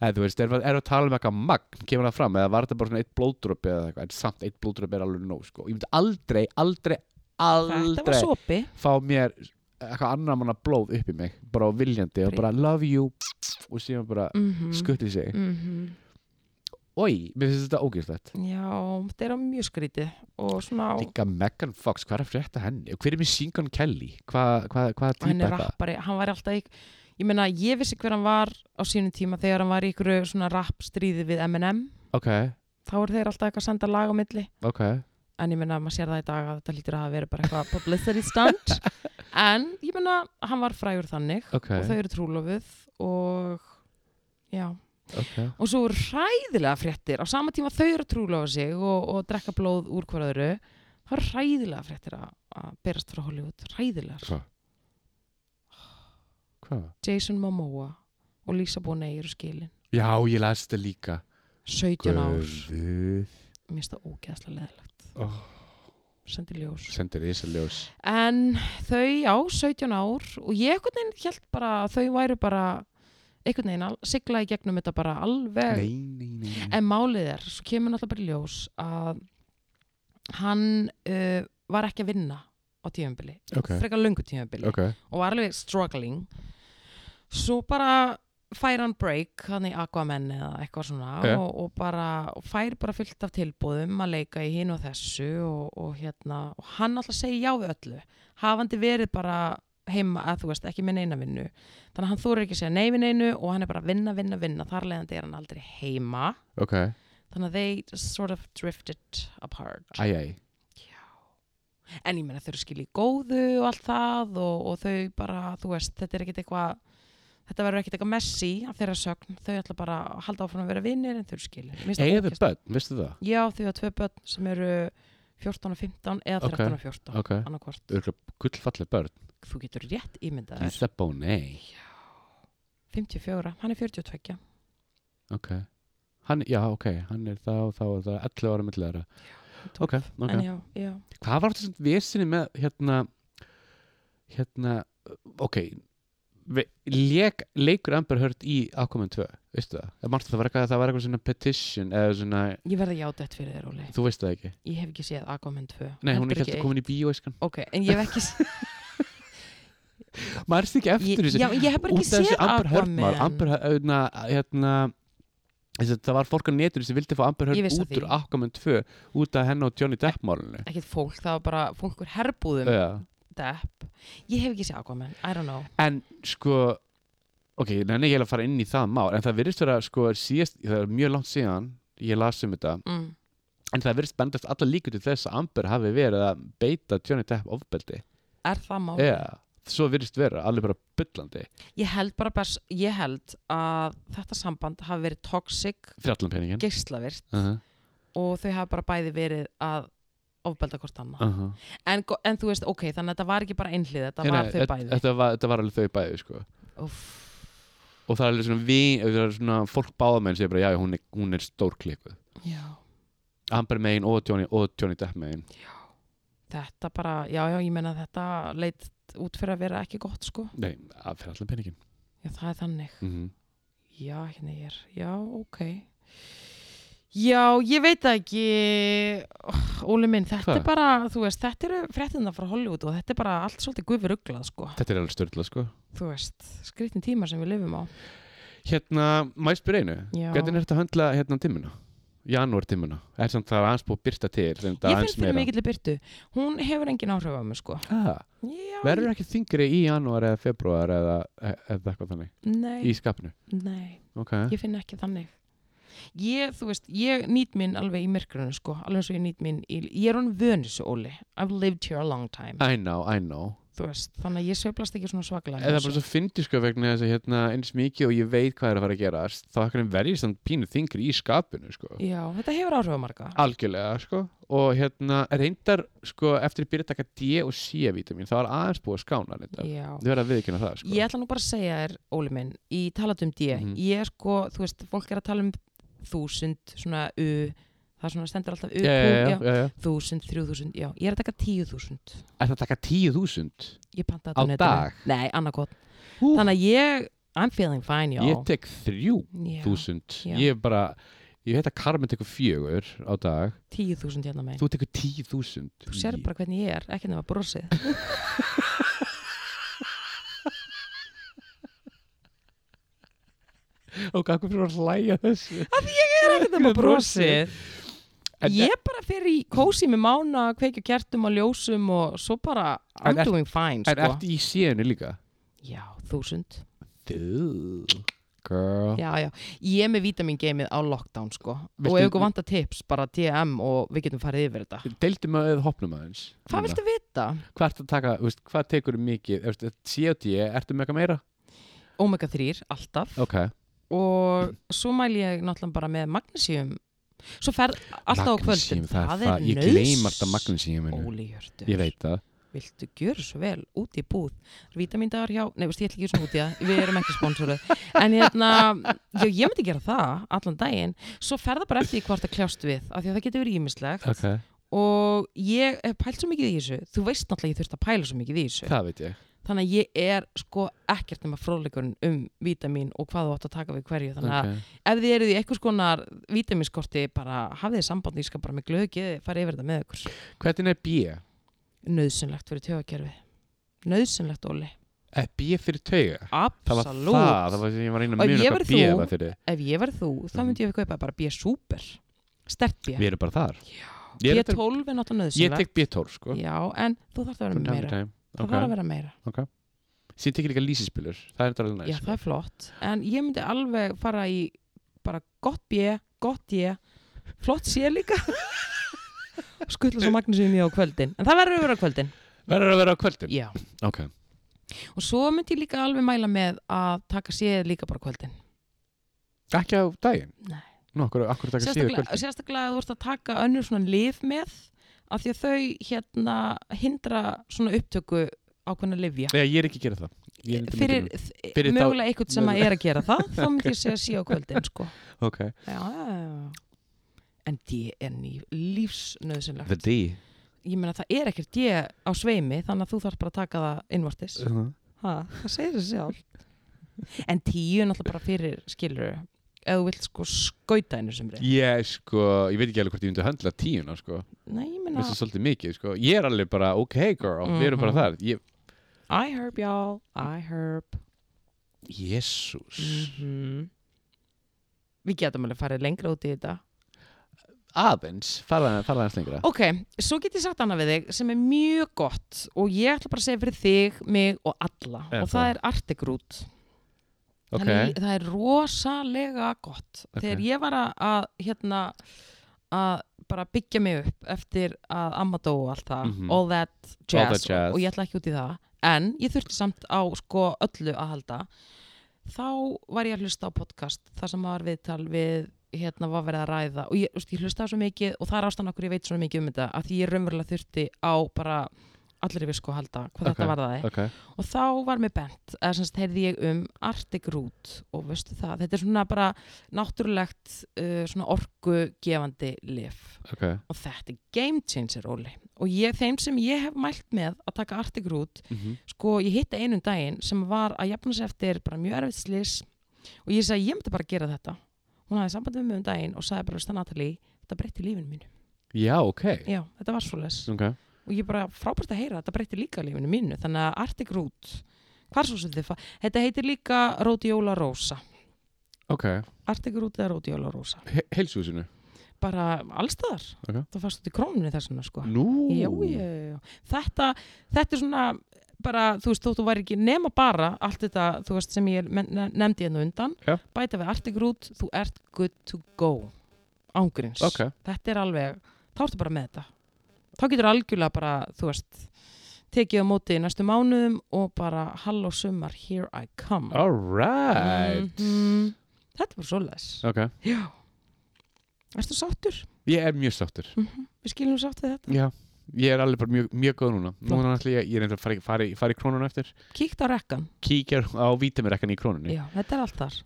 A: En þú veist, erum við erum við að tala um eitthvað magn Kemur það fram, eða var þetta bara svona eitt blóðdropi eða eitthvað, en samt eitt blóðdropi er alveg nóg sko. Ég myndi aldrei, aldrei,
B: þetta var
A: aldrei
B: sopi
A: fá mér eitthvað annar manna blóð upp í mig bara á viljandi og bara love you og síðan bara
B: mm
A: skutt í sig Oi, mér finnst þetta ógeðslegt
B: Mhm. já, þetta er á mjög skrítið og svona, á-
A: Líka Megan Fox, hvað er að frétta henni? Og hver er mér Singon Kelly? Hvað hva, hva
B: hann
A: er týpa
B: er
A: þetta?
B: rappari hann var alltaf í, ég meina, ég vissi hver hann var á sínum tíma þegar hann var í ykkur svona rap stríði við M&M
A: Ok,
B: þá voru þeir alltaf eitthvað að senda lag á milli
A: ok
B: en ég meina að maður sér það í dag að þetta lítur að hafa verið bara eitthvað publicity stunt en ég meina hann var frægur þannig
A: Ok.
B: og þau eru trúlofuð og já og
A: Ok,
B: svo eru hræðilega fréttir á sama tíma þau eru að trúlofa sig og, og drekka blóð úr hverðuru það eru hræðilega fréttir að, að berast frá Hollywood hræðilegar
A: Hva? Hvað?
B: Jason Momoa og Lisa Bonet eru skilin
A: Já, ég las þetta líka
B: 17 ár
A: Guð
B: mér finnst það ógeðslega leðilegt
A: oh,
B: sendi ljós
A: Sendir í þessu ljós
B: en þau, já, 17 ár og ég einhvern veginn held bara að þau væru bara einhvern veginn al- sigla í gegnum þetta bara alveg
A: Nei, nei, nei, nei.
B: en málið er, svo kemur náttúrulega bara í ljós að hann uh, var ekki að vinna á tíðanbili,
A: Ok,
B: frekar löngu tíðanbili
A: ok
B: og var alveg struggling svo bara fær hann break hann í Aquaman eða eitthvað svona
A: Já.
B: og, og bara og fær bara fullt af tilbúðum að leika í hinn og þessu og, og hérna og hann alltaf segi já við öllu hafandi verið bara heima að þú veist ekki með neina vinnu þannig að hann þóru ekki að segja nei við neinu og hann er bara að vinna, vinna, vinna þar leðandi er hann aldrei heima
A: Ok,
B: þannig að they just sort of drifted apart
A: æj, æj
B: en ég meina þau eru skilið í góðu og allt það og, og þau bara, þú veist, þetta er ekkit eitthvað þetta verður ekkit eitthvað messi af þeirra sögn, þau ætla bara að halda áfram að vera vinnir en þau eru skilið. Mér finnst það
A: Eða
B: ógeðs-
A: börn, veistu það?
B: Já, þau hafa tvö börn sem eru 14 og 15 eða
A: Ok,
B: 13 og 14
A: Ok,
B: annarkvort,
A: örgulega gullfalleg börn
B: þú getur rétt ímyndað þér.
A: Lisa Bonet
B: 54, hann er 42
A: Ok hann, Já, ok, hann er þá, þá er það 11 ára millir þeirra Ok, ok
B: en já, já,
A: Hvað var þetta sem vesinni með hérna hérna, ok ve- Lék, leikur Amber Heard í Aquaman 2, veistu það? Það, margt, það var eitthvað, það var eitthvað svona petition eða svona,
B: ég verði játætt fyrir þér, Óli
A: þú veist það ekki
B: ég hef ekki séð Aquaman 2
A: Nei, hún
B: Heldur
A: er ekki alltaf
B: eitt.
A: komin í bíó eskan
B: ok, en ég hef ekki séð
A: Maður er ekki eftir
B: ég,
A: þessu
B: já, ég hef bara
A: Út
B: ekki
A: af þessu
B: séð
A: Amber Heard mál
B: Aquaman
A: Amber Heard, hérna, hérna þessi- Það var fólk á netur sem vildi fá Amber
B: Ég
A: Heard
B: vissi af
A: út úr
B: því.
A: Aquaman 2 út af henn og Johnny Depp málunni
B: ekkert fólk, það var bara fólk úr herbúðum
A: Já
B: Depp. Ég hef ekki séð Aquaman, I don't know.
A: en sko ok, nenni ég eiginlega að fara inn í það mál en það virðist vera sko síðast það er mjög langt síðan ég las um þetta
B: Mm.
A: en það virðist bendast alla líkur til þess að Amber hafi verið að beita Johnny Depp ofbeldi
B: Er það mál?
A: yeah. svo virðist vera, alveg bara byllandi
B: Ég held bara best, ég held að þetta samband hafi verið toxic,
A: fyrir allan peningin
B: geislavirt
A: uh -huh,
B: og þau hafi bara bæði verið að ofbelda hvort annað.
A: uh -huh.
B: En, go- en þú veist, ok, þannig að þetta var ekki bara einhlið, þetta var þau bæði.
A: Hérna, þetta var, þetta var alveg þau bæði sko.
B: Úff,
A: og það er alveg svona, vi, eh, það er svona fólk báðamenn sem er bara, já, já, hún er, hún er stór klikuð
B: já.
A: Amber megin og Johnny, og Johnny Depp megin
B: Þetta bara, já, já, ég meina að þetta leitt út fyrir að vera ekki gott, sko.
A: nei, að fyrir allan peningin
B: Já, það er þannig.
A: mm
B: Já, hérna ég er, já, ok. Já, ég veit það ekki, Ó, Óli minn, þetta
A: Hvað?
B: er bara, þú veist, þetta eru fréttina frá Hollywood og þetta er bara allt svolítið gufuruglað, sko.
A: þetta er alveg störla sko
B: þú veist, skritin tíma sem við lifum á
A: hérna, maður spyr einu
B: Já.
A: hvernig er þetta að höndla hérna timmuna janúar timmuna, er samt það aðeins búið að byrta til ég
B: ég finn fyrir mikill byrtu, hún hefur engin áhrif á mig sko
A: ah,
B: Já,
A: verður ekki þingri í janúar eða februar eða, e, eða eitthvað þannig,
B: nei,
A: í skapinu
B: nei,
A: ok,
B: ég finn ekki þannig ég, þú veist, ég nýt minn alveg í myrkrunu sko, alveg eins og ég nýt minn í, ég er hún vönis, Óli, I've lived here a long time
A: I know, I know
B: þú veist, þannig að ég sveiflast ekki svona svaklega
A: eða bara svo fyndi sko vegna þess að hérna eins mikið og ég veit hvað er að fara að gerast þá ekkur verður samt pínu þingri í skapinu sko.
B: Já, þetta hefur áhrif á marga
A: algjörlega sko og hérna reyndar sko eftir að byrja að taka D og C vítamin þá er aðeins búið að skána reyndar
B: Já
A: þau verða að viðkynna það sko
B: Ég ætla nú bara að segja þér, Óli minn, í talandum D,
A: Mhm.
B: ég er sko, þú veist, fólk er að tala um þúsund, svona U, það er svona stendur alltaf U, Q,
A: já, já,
B: já,
A: já, já, já.
B: þúsund, þrjú þúsund, já, ég er að taka tíu þúsund
A: Er það að taka tíu þúsund?
B: ég panta
A: Á
B: þetta netinu.
A: dag?
B: nei, annarkot,
A: Hú.
B: þannig að ég I'm feeling fine, já,
A: Ég tek þrjú
B: já
A: þúsund
B: Já.
A: Ég er bara, ég heit að Carmen tekur fjögur á dag
B: tíu þúsund hérna megin,
A: Þú tekur tíu þúsund
B: þú sér bara hvernig ég er ekki nema brosið
A: Og hvað fyrir að hlæja þessu
B: ég er ekki nema
A: Með brosið.
B: brosið
A: En-
B: ég bara fer í kósi með mána kveikju kertum og ljósum og svo bara, I'm
A: En ert-
B: doing fine
A: En
B: sko.
A: ertu í séunni líka?
B: já, þúsund
A: Þú Girl
B: já, já, ég er með vítamingeimið á lockdown sko,
A: Viltu-
B: og ef ykkur vantar tips bara DM og við getum farið yfir þetta
A: Deildum að eða hopnum aðeins
B: hvað viltu vita?
A: Hvað ertu að taka, þú veist, hvað tekur mikið Þú veist, C og D, ertu með eitthvað meira?
B: Omega 3, alltaf
A: Ok
B: og svo mæl ég náttúrulega bara með magnesíum svo ferð alltaf á kvöldin
A: Magnesium, það, er það Ég
B: nauðs-
A: gleym alltaf magnesiuminu
B: Óli Hjörtur,
A: Ég veit það
B: viltu gjöra svo vel út í búð vítamindagar hjá, nei veist ég ætla ekki svona út í það við erum ekki sponsoruð en hérna, já, ég myndi gera það allan daginn, svo fer það bara eftir því hvort það kljást við, af því að það getur verið ímislegt
A: okay.
B: og ég hef pælt svo mikið í þessu þú veist náttúrulega að ég þurft að pæla svo mikið í þessu
A: Það veit ég
B: þannig að ég er sko ekkert nema fróðleikurinn um vítamin og hvað þú átt að taka við hverju þannig að
A: okay.
B: ef þið eruð í einhvers konar vitaminskorti bara hafið þið samband ég skal bara með glöðu geði fara yfir þetta með ykkur
A: Hvernig er B?
B: nöðsynlegt fyrir tjóðakerfi nöðsynlegt Óli
A: Er B fyrir tauga? Það var
B: absolutt
A: það, það var sem ég var að reyna að
B: Og
A: muna
B: ég
A: hvað
B: verð
A: B
B: þú.
A: var fyrir
B: ef ég verð þú þá
A: Mhm.
B: myndi ég kaupa bara B-super stert B
A: Við erum bara þar Ég, er þetta-
B: B12 er náttúrulega
A: ég
B: nöðsynlegt
A: tek B12 sko
B: já en þú þarf að vera
A: From
B: með
A: time to
B: meira
A: time.
B: það þarf að
A: Ok.
B: vera meira
A: Síðan tekir líka lýsinspilur Það er þetta alveg
B: já
A: næst
B: það er flott en ég myndi alveg fara í bara gott B gott D flott C líka skuttla svo magnusinni á kvöldin en það verður að vera á kvöldin
A: Verður að vera á kvöldin?
B: já
A: Ok
B: Og svo myndi ég líka alveg mæla með að taka séð líka bara á kvöldin.
A: Ekki á daginn?
B: Nei.
A: Nú, akkur, akkur taka síður
B: Sérstaklega,
A: kvöldin?
B: sérstaklega að þú ert að taka önnur svona lif með af því að þau hérna hindra svona upptöku ákveðna lifja.
A: Nei, ég er ekki að gera það Ég er ekki að
B: Fyrir,
A: mynda Fyrir þá-
B: mögulega einhvern sem að er að gera það, þá myndi ég segja síða á kvöldin, sko.
A: mér. Ok
B: Já, já, já. En D er ný, lífsnöðsynlegt.
A: D
B: Ég meina það er ekkert D á sveimi, þannig að þú þarf bara að taka það innvartis. Ha, það segir þessi sjálf En tíu er náttúrulega bara fyrir skilur eða þú vilt sko skauta einu sem reyð
A: Ég sko, ég veit ekki alveg hvort ég myndi að höndla tíuna sko
B: Nei, ég
A: Mér
B: meina
A: finnst það svolítið mikið sko Ég er alveg bara, ok girl, við erum bara þar ég,
B: I herb y'all, I herb
A: Jésús
B: Mhm. Við getum alveg farið lengra út í þetta
A: Aðeins, farða aðeins lengra
B: Ok, svo get ég sagt annað við þig sem er mjög gott og ég ætla bara að segja fyrir þig, mig og alla
A: Eða
B: og
A: það.
B: það er artegrút
A: Ok,
B: Þannig, það er rosalega gott.
A: Ok.
B: Þegar ég var að, að hérna að bara byggja mig upp eftir að amma dó og allt það,
A: Mhm.
B: all that
A: All
B: jazz,
A: that jazz.
B: Og, og ég ætla ekki út í það en ég þurfti samt á sko öllu að halda þá var ég að hlusta á podcast þar sem var viðtal við hérna var verið að ræða og ég, þú veist, ég hlusta svo mikið og það er ástæðan okkur ég veit svo mikið um þetta að því ég raunverulega þurfti á bara allir við sko að halda hvað
A: Ok,
B: þetta varðaði
A: ok,
B: og þá var mér bent eða semst heyrði ég um Arctic Route og veistu það, þetta er svona bara náttúrulegt uh, svona orkugefandi lif
A: ok
B: og þetta er game changer Óli og ég, þeim sem ég hef mælt með að taka Arctic Route
A: mm -hmm.
B: sko ég hitti einum daginn sem var að jafna sig eftir bara mjög erfitt slis og ég sagði ég myndi bara gera þetta hún hafði samband við mig um daginn og sagði bara veist það Natalie, þetta breytti lífinu mínu
A: Já, ok
B: já, þetta var svoleiðis
A: Ok,
B: og ég bara frábært að heyra, þetta breytti líka lífinu mínu þannig að Arctic Route hvar svo sem þið fa þetta heitir líka Rhodiola Rosa
A: okay.
B: Arctic Route eða Rhodiola Rosa
A: He heilsúsinu
B: bara allstaðar,
A: Ok.
B: það fannst út í krónunni þessuna sko
A: Nú
B: já, já, já, já. Þetta, þetta er svona bara, þú veist, þótt þú væri ekki nema bara allt þetta, þú veist, sem ég men- ne- nefndi hérna á undan,
A: Já.
B: bæta við Arctic Route þú ert good to go ángurins,
A: Ok,
B: þetta er alveg þá ertu bara með þetta þá getur algjörlega bara, þú veist tekið á móti í næstu mánuðum og bara halló sumar, here I come
A: alright
B: Mhm. þetta er bara svoleiðis
A: Ok,
B: já, erstu sáttur?
A: ég er mjög sáttur
B: við skilum sátt við þetta
A: Já, ég er alveg bara mjög, mjög góð núna
B: Flott.
A: Núna ætla ég, ég er einnig að fara, í- fara, í- fara í krónuna eftir
B: kíkt á rekkan,
A: Kíkja á vítamirrekkan í krónunni
B: já, þetta er allt þar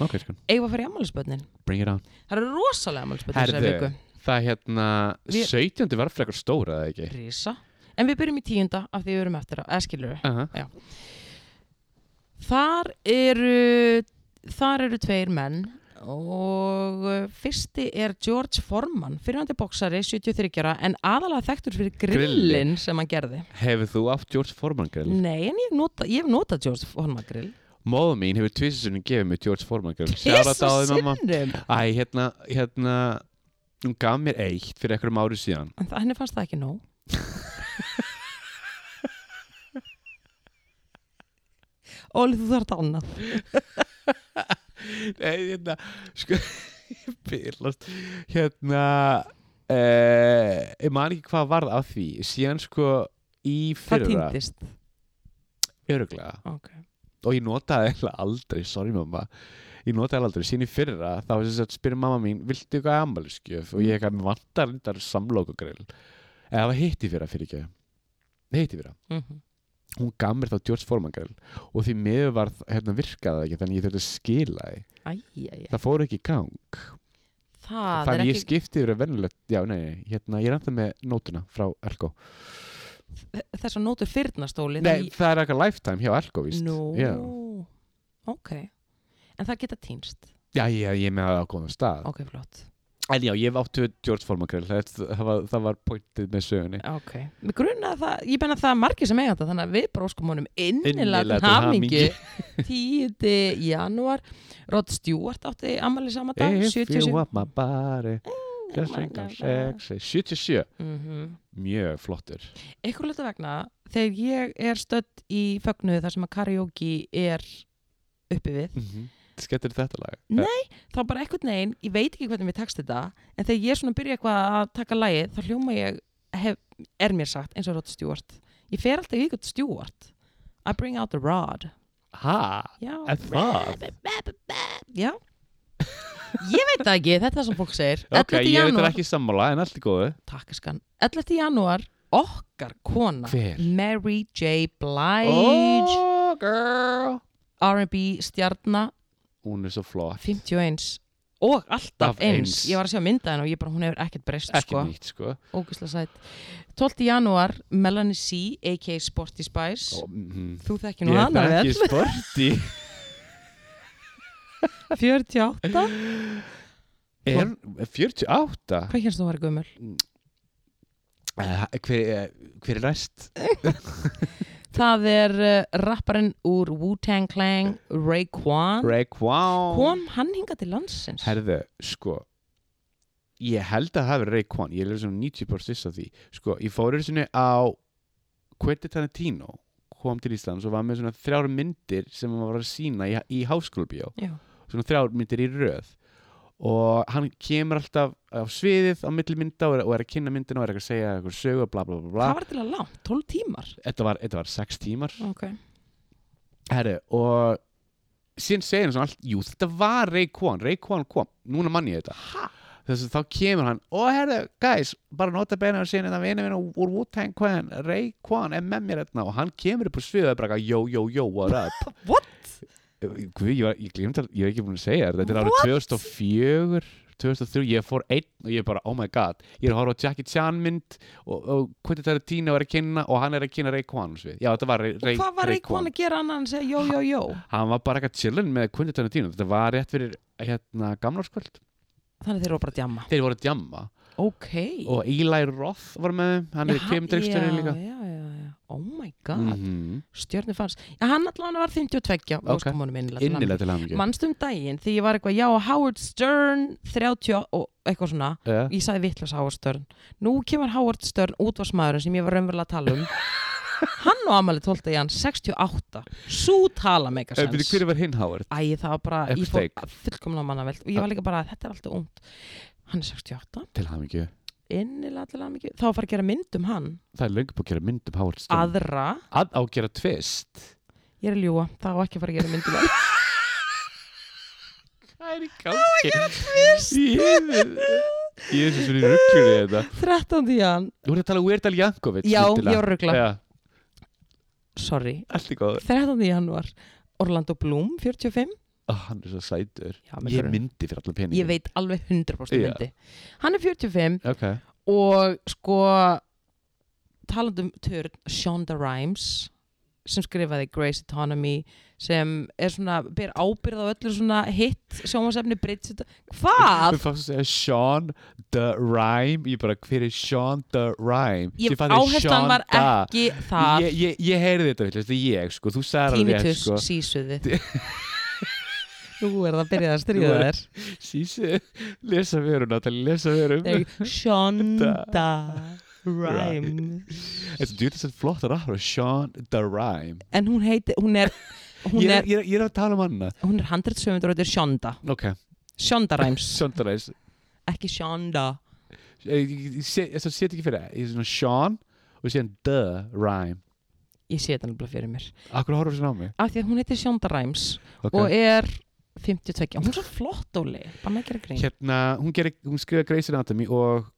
A: Ok, sko,
B: eigum við að fara í ammælisbönnin
A: bring it on
B: það eru rosalega ammælisbönnin þessar
A: Herðu.
B: viku
A: Það hérna,
B: Við-
A: 17. var frekar stóra, eða ekki?
B: Rísa. en við byrjum í tíunda af því við erum eftir á, eða skilur við
A: Aha,
B: þar eru þar eru tveir menn og uh, fyrsti er George Foreman, fyrirhandi boksari 73 ára en aðalega þekktur fyrir grillin sem hann gerði
A: Hefur þú átt George Foreman grill?
B: Nei, en ég hef nota, ég hef notað George Foreman grill
A: Móða mín hefur tvissunum gefið mig George Foreman grill Sjára dáði mamma
B: sinnum
A: Æ, hérna, hérna Hún gaf mér eitt fyrir einhverjum árið síðan
B: En það- henni fannst það ekki nóg Óli, þú þarf að annað
A: Nei, hérna, sko Ég byrlast Hérna eh, Ég man ekki hvað varð af því Síðan sko í
B: Það
A: fyrra
B: týndist
A: Öruglega
B: Ok.
A: og ég notaði eiginlega aldrei, sorry mamma ég notaði eiginlega aldrei, síðan í fyrra þá var þess að spyrja mamma mín, viltu eitthvað ammæliskjöf og ég eitthvað "Mig vantar reyndar samlokugrill eða það var hitt í fyrra fyrir ekki hitt í fyrra,
B: mm
A: hún gaf mér þá George Foreman grill og því miður var hérna virkaði það ekki þannig ég þurfti að skila því,
B: Æjæjæ
A: það fór ekki í gang
B: Ah, Það er
A: þannig
B: ekki
A: ég skipti yfir að venjulegt, já nei, nei hérna, ég er ennþá með nótuna frá Elko
B: þessar nótur fyrnastóli
A: nei, það er eitthvað lifetime hjá Elko víst
B: Nú,
A: já,
B: ok En það geta týnst
A: já, já, ég er með það á góðum stað
B: Ok, flott
A: En já, ég hef átt við George Foreman grill það, það, var, það var pointið með sögunni
B: Ok, mér grunna að það, ég benna það er margir sem eiga þetta Þannig að við bara óskum honum innilega til
A: Innilega til
B: hamingi 10. janúar Rod Stewart átti ammali sama dag
A: If you
B: 77
A: want my body
B: Oh
A: Just think I'm sexy 77,
B: mm
A: mjög flottur
B: Ekkur hluta vegna, þegar ég er stödd í fögnuð þar sem að karaoke er uppi við
A: Skettir þetta lag?
B: Mhm. Nei. þá bara eitthvað neginn, ég veit ekki hvernig mér tekst þetta en þegar ég svona byrja eitthvað að taka lagið þá hljóma ég, hef, er mér sagt eins og Rod Stewart ég fer alltaf í eitthvað Stewart I bring out the rod
A: Ha,
B: já,
A: er það?
B: já. ég veit það ekki, þetta er það sem fólk segir
A: Ok,
B: 11.
A: ég veit það
B: janúar,
A: ekki sammála en allt er góðu
B: takk skan 11. janúar, okkar kona
A: Hver?
B: Mary J. Blige
A: Oh, girl
B: R&B stjarna
A: Hún er svo flott
B: 51 og alltaf
A: Af
B: eins.
A: eins.
B: ég var að sjá mynda henn og ég bara, hún hefur ekkert breyst
A: Ekki
B: sko.
A: nýtt, sko
B: ógislega sætt 12. janúar, Melanie C a.k.a. Sporty Spice
A: Ó, mhm.
B: þú þekkir nú
A: Ég
B: hana
A: er
B: vel
A: ekki sporti
B: 48,
A: Er 48?
B: hvað hérst þú var gömul?
A: Eh, Hver, eh, hver er rest?
B: það er uh, rapparinn úr Wu-Tang Clan Raekwon
A: Raekwon
B: kom hann hingað til landsins
A: Herðu, sko ég held að það hafi Rayquan ég er alveg svona 90% viss af því sko, ég fór einu sinni á Quentin Tarantino kom til Íslands og var með svona þrjár myndir sem hann var að sína í, í háskólabíó
B: Já.
A: svona þrjár myndir í röð og hann kemur alltaf á sviðið á milli mynda og er, og er að kynna myndina og er eitthvað að segja eitthvað sögu bla bla bla, bla.
B: Hvað var til að langt? 12 tímar?
A: Þetta, var, þetta var sex tímar
B: Ok.
A: Herri, og síðan segir hann svona allt, jú þetta var Ray Kwan, Ray Kwan kom, núna mann ég þetta
B: Ha?
A: þess að þá kemur hann, og herri, guys bara nota beina að segja þetta vini minn úr Wu-Tang Kwan, Ray Kwan er með mér þetta og hann kemur upp á sviðu og er bara eitthvað, yo, yo, yo, what up
B: What?
A: Guð, ég, var- ég glemt að, ég hef ekki búin að segja þér, þetta er árið 2004 2003, ég fór einn og ég bara, oh my god ég er að horfa á Jackie Chan mynd og, og Quentin Tarantino er að kynna og hann er að kynna Ray Kwan á svið, já þetta var Ray,
B: Og hvað var Reykjón að gera annan en segja jó, jó, jó?
A: hann var bara eitthvað chillin með Quentin Tarantino þetta var rétt fyrir hérna gamlarskvöld
B: Þannig þeir eru bara að djamma.
A: þeir voru að djamma
B: Ok.
A: og Eli Roth var með þeim, hann er
B: Jaha,
A: kemdreikstjóri líka
B: Já, já, já, já. Oh my god. Mm.
A: Mhm.
B: Stjörnir fannst. Já, hann allan var 52 og
A: Ok.
B: okay. skoðum honum innilega. til
A: innilega til hann
B: hamingju.
A: ekki
B: Manstu um daginn því ég var eitthvað, já, Howard Stern 30 og eitthvað svona. Ég sagði vittlas Howard Stern. Nú kemur Howard Stern útvarsmaðurinn sem ég var raunverulega að tala um. hann og Amalí 12. jan 68. Sú tala megasens.
A: byrju Eh, hver var hinn Howard
B: Æ, það var bara, ég fór
A: Uppsteik.
B: fullkomlega mannavelt og ég var líka bara, þetta er alltaf ungt. Hann er 68,
A: til hann ekki
B: innilega til að mikið, þá var að fara að gera mynd um hann,
A: það er löngu búið að gera mynd um Howard Stern
B: aðra,
A: að á að gera tvist
B: ég er að ljúa, þá ekki að fara að gera mynd um hann.
A: það er í gangi ég ég er svo svona í ruggjur í þetta
B: 13. jan,
A: þú voru að tala um Weird Al Jankovic
B: já,
A: skyndilega.
B: ég var ruggla,
A: Já,
B: sorry,
A: allt í góður
B: 13. januar, Orlando Bloom, 45,
A: Ó, hann er svo sætur
B: já, með
A: ég
B: fyrir-
A: myndi fyrir allar pening
B: ég veit alveg 100%
A: Já.
B: myndi. Hann er 45
A: okay.
B: og sko, talandum törn, Shonda Rhimes, sem skrifaði Grey's Autonomy sem er svona, ber ábyrð á öllu svona hitt sjónvarsefni Brits hvað?
A: Mér fannst að segja Sean the Rhyme Ég bara, hver er Sean the Rhyme?
B: Ég,
A: Ég fann þig, Sean
B: áherslan var
A: da.
B: ekki það
A: Ég, ég, ég heyrði þetta, þetta er ég sko Þú sagði alveg rétt
B: tínitus
A: sko
B: sísuði nú er það að byrja að stríða
A: Nú er-
B: þér
A: Sísi, lesa verum Natalie, lesa verum
B: Nei, Shonda Rhimes
A: Þetta djúti sem flott að ráða Sean the Rhyme
B: en hún heiti, hún er hún
A: ég,
B: er,
A: er, ég, er, ég er að tala um hana
B: hún er 170 og þetta er Shonda
A: Ok,
B: Shonda Rhimes,
A: Sean the Rhyme
B: ekki Shonda
A: Ég seti ekki fyrir það Ég er svona Sean og síðan the Rhyme
B: ég sé þetta alveg fyrir mér
A: Akkur horfum þessi á mig
B: af því að hún heitir Shonda Rhimes
A: Ok.
B: og er 52 hún er svo flott óli, banna ekki að gera grín
A: Hérna, hún, gerir, hún skrifa Grey's Anatomy og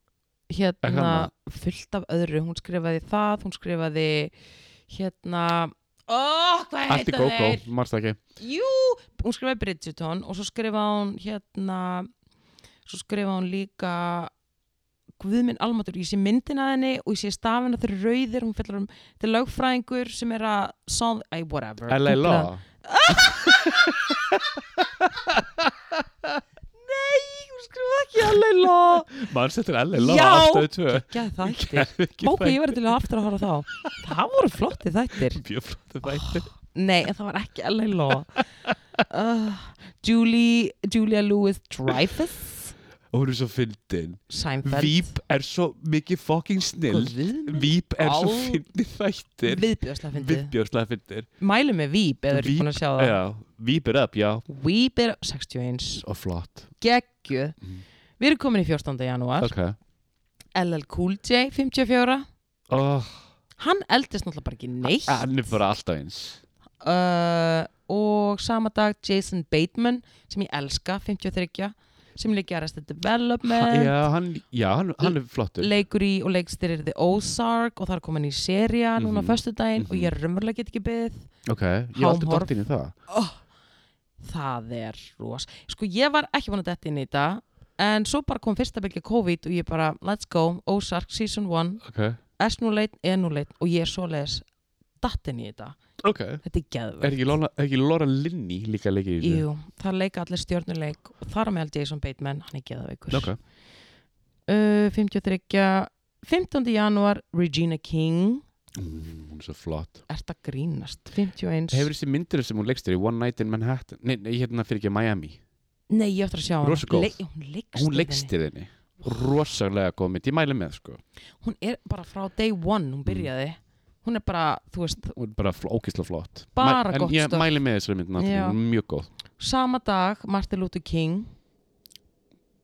A: Ekki
B: hérna
A: annað?
B: fullt af öðru, hún skrifaði það hún skrifaði hérna ó, hvað
A: Allt í
B: heita
A: gógó,
B: þeir
A: marst ekki
B: jú, hún skrifaði Bridgerton og svo skrifaði hún hérna svo skrifaði hún líka Guðminn Almatur, ég sé myndin að henni og ég sé stafina þeir eru rauðir, hún fyllar um þetta er lögfræðingur sem er að song, ay, whatever,
A: LA
B: Googla.
A: Law
B: nei, hún skrifaði ekki LA Law
A: Manns þetta er LA
B: Já.
A: Law ástöðu tvö
B: Gæði þættir.
A: Gerðu ekki
B: Bóka, ég verði til að aftur að horfa á þá. Það voru flotti þættir.
A: þætti. Mjög flott þættir
B: Nei, en það var ekki LA Law. Uh, Julie, Julia Louis-Dreyfus,
A: Og hún er svo fyndin
B: Seinfeld.
A: Víp er svo mikið fucking snill
B: Sko, Guðmund.
A: Víp er svo
B: Al-
A: fyndin þættir
B: Viðbjörslega fyndið. Ah.
A: Viðbjóðslega fyndin
B: Mælu með Víp, eða þú eru
A: Veep,
B: búin að sjá það.
A: Já, Víp er upp, já
B: Víp er 61.
A: Og flott
B: Geggju.
A: Mm.
B: Við erum komin í 14. janúar.
A: Ok
B: LL Cool J, 54.
A: oh,
B: Hann eldist náttúrulega bara ekki neitt.
A: Hann er bara alltaf eins ah.
B: uh, og sama dag Jason Bateman sem ég elska, 53 sem líka Arrested
A: ha,
B: Development
A: Já, hann, já hann, hann er flottur
B: leikur í og leikstyrir The Ozark og það er komin í seria núna á
A: Mhm.
B: föstudaginn og
A: Mhm.
B: ég raunverulega get ekki beðið
A: Ok, ég er
B: Hám
A: alltaf
B: horf.
A: dottinn í það
B: það er ros sko ég var ekki búin að detta inn í þetta en svo bara kom fyrsta bylgja COVID og ég bara let's go, Ozark season 1
A: Ok
B: s nú leit, e nú leit og ég er svoleiðis datt inn í þetta,
A: Ok
B: þetta er
A: Er
B: geðvöld
A: ekki Laura, er ekki Laura Linney líka leikið í þessu?
B: Jú, það leika allir stjörnuleik og þar á meðal Jason Bateman, hann er geðveikur
A: Ok
B: uh, 53 15. janúar Regina King
A: Mm, Hún er svo flott
B: ert að grínast 51
A: Hefur þessi myndir sem hún leikstur í One Night in Manhattan Nei, nei hérna fyrir ekki Miami
B: nei ég ætti að sjá
A: Rosa góð.
B: hana Le hún, leikst
A: Hún
B: í henni.
A: leikstir henni Rosalega góð mynd, ég mæli með sko
B: hún er bara frá day one hún byrjaði hún er bara þú veist
A: Mm. Hún er bara fl ókislega flott
B: Bara
A: Mæ-
B: gott
A: En ég
B: stöf.
A: mæli með þessari mynd náttúrulega,
B: Já.
A: hún er mjög góð
B: sama dag Martin Luther King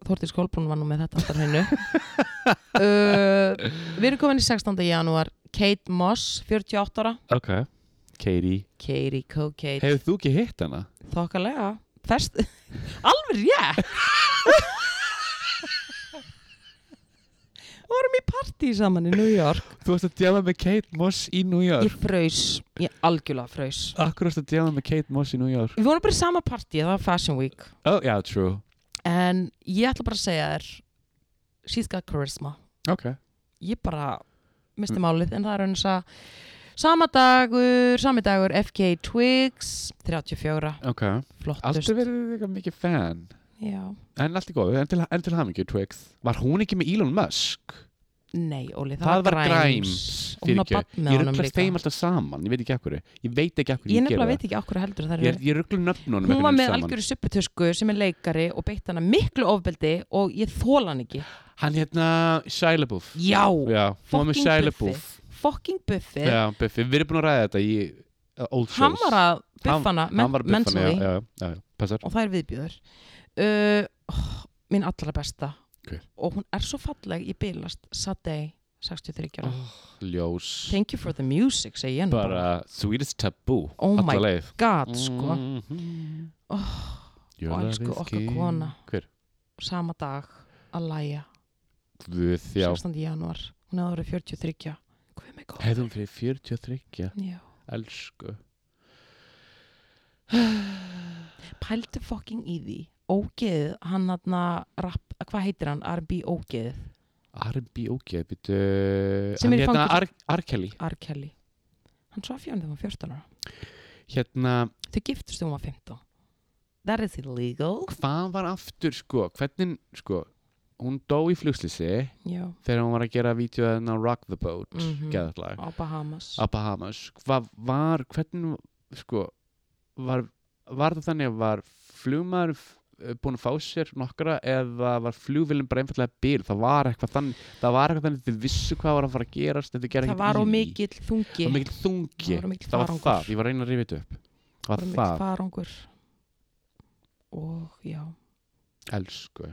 B: Þortís Kolbrún var nú með þetta alltaf hennu uh, Við erum komin í 16. janúar Kate Moss, 48 ára
A: Ok Katie
B: Katie Cocate
A: Hefur þú ekki hitt hana?
B: Þokkalega Fest... Alveg rétt Vorum í partí saman í New York
A: Þú varst að djama með Kate Moss í New York
B: Ég fraus, ég algjörlega fraus
A: Akkur varst að djama með Kate Moss í New York
B: Við vorum bara í sama partí, það var Fashion Week
A: Oh, yeah, true
B: En ég ætla bara að segja þér She's got charisma
A: Ok
B: Ég bara
A: Mm.
B: misti málið En það er eins að Sama dagur, sami dagur FK Twigs 34,
A: Ok
B: flottust
A: Aldrei verið eitthvað mikið fan
B: Já,
A: En allt í góðu, en til, en til hamingju Twix Var hún ekki með Elon Musk?
B: nei Óli, það,
A: Það var
B: Grimes,
A: Grimes,
B: Og Hún á
A: fyrirgefðu.
B: bann
A: Ég
B: með honum
A: ruggla
B: líka
A: þeim alltaf saman, ég veit ekki akkur Ég veit ekki akkur
B: Ég nefnilega veit ekki okkur heldur það
A: Ég,
B: er
A: ég ruggla nöfnunum
B: Hún var með
A: einhvern veginn
B: algjöru supputösku sem er leikari og beitt hana miklu ofbeldi og ég þóla hann ekki
A: Hann hérna Shia LaBeouf
B: Já,
A: Já, hún var með
B: fucking
A: Shia
B: Buffy.
A: LaBeouf
B: fucking buffi
A: Já, Buffy, við erum búin að ræða þetta í uh, Old Shows
B: Hann var að buffana
A: Hann var að buffa hana,
B: mentally
A: já, já, já, já, passar
B: og það er viðbjöður uh, oh, Mín allra besta
A: Hver?
B: og hún er svo falleg í bilast Saturday 63 ára
A: oh, Ljós
B: Thank you for the music, segi ég nú bara,
A: Bara Sweetest Taboo
B: Oh my
A: alla leið.
B: God, sko
A: Mhm.
B: oh,
A: Your
B: Og
A: love
B: elsku
A: is
B: okkar
A: king.
B: kona.
A: Hver?
B: Sama dag að læja
A: Guð, já
B: 16. januar, hún hefði orðið 43 Hvað er mig góð?
A: Hefðum fyrir 43
B: Já
A: Elsku
B: pældu fucking í því ógeðið, hann aðna rapp, hvað heitir hann, R&B ógeðið
A: R&B ógeð býtu
B: Sem
A: Sem
B: er í
A: er hérna
B: fangelsi.
A: Ar- R. Kelly
B: R. Kelly hann svo að fjóðan þegar hann var 14 ára
A: Hérna,
B: þau giftust þegar hann var 15 that is illegal
A: hvað var aftur sko Hvernig, sko Hún dó í flugslýsi
B: já,
A: Þegar hún var að gera vídeo að Rock the Boat mm
B: Mhm.
A: Geðarlag
B: á Bahamas
A: Á Bahamas Hvað var, hvernig Sko Var, var það þannig að var flugmaður búin að fá sér nokkra eða var flugvillin bara einfallega bíl það var eitthvað þannig það var eitthvað þannig þau vissu hvað var að fara að gerast en þau gerði
B: það
A: ekkert
B: var
A: í
B: á
A: því.
B: mikill þungi
A: Það var mikill þungi
B: Það var mikill
A: Það var
B: farangur.
A: það, ég var að reyna að rifja þetta upp
B: það
A: Það var
B: var mikill
A: það,
B: farangur og já
A: elsku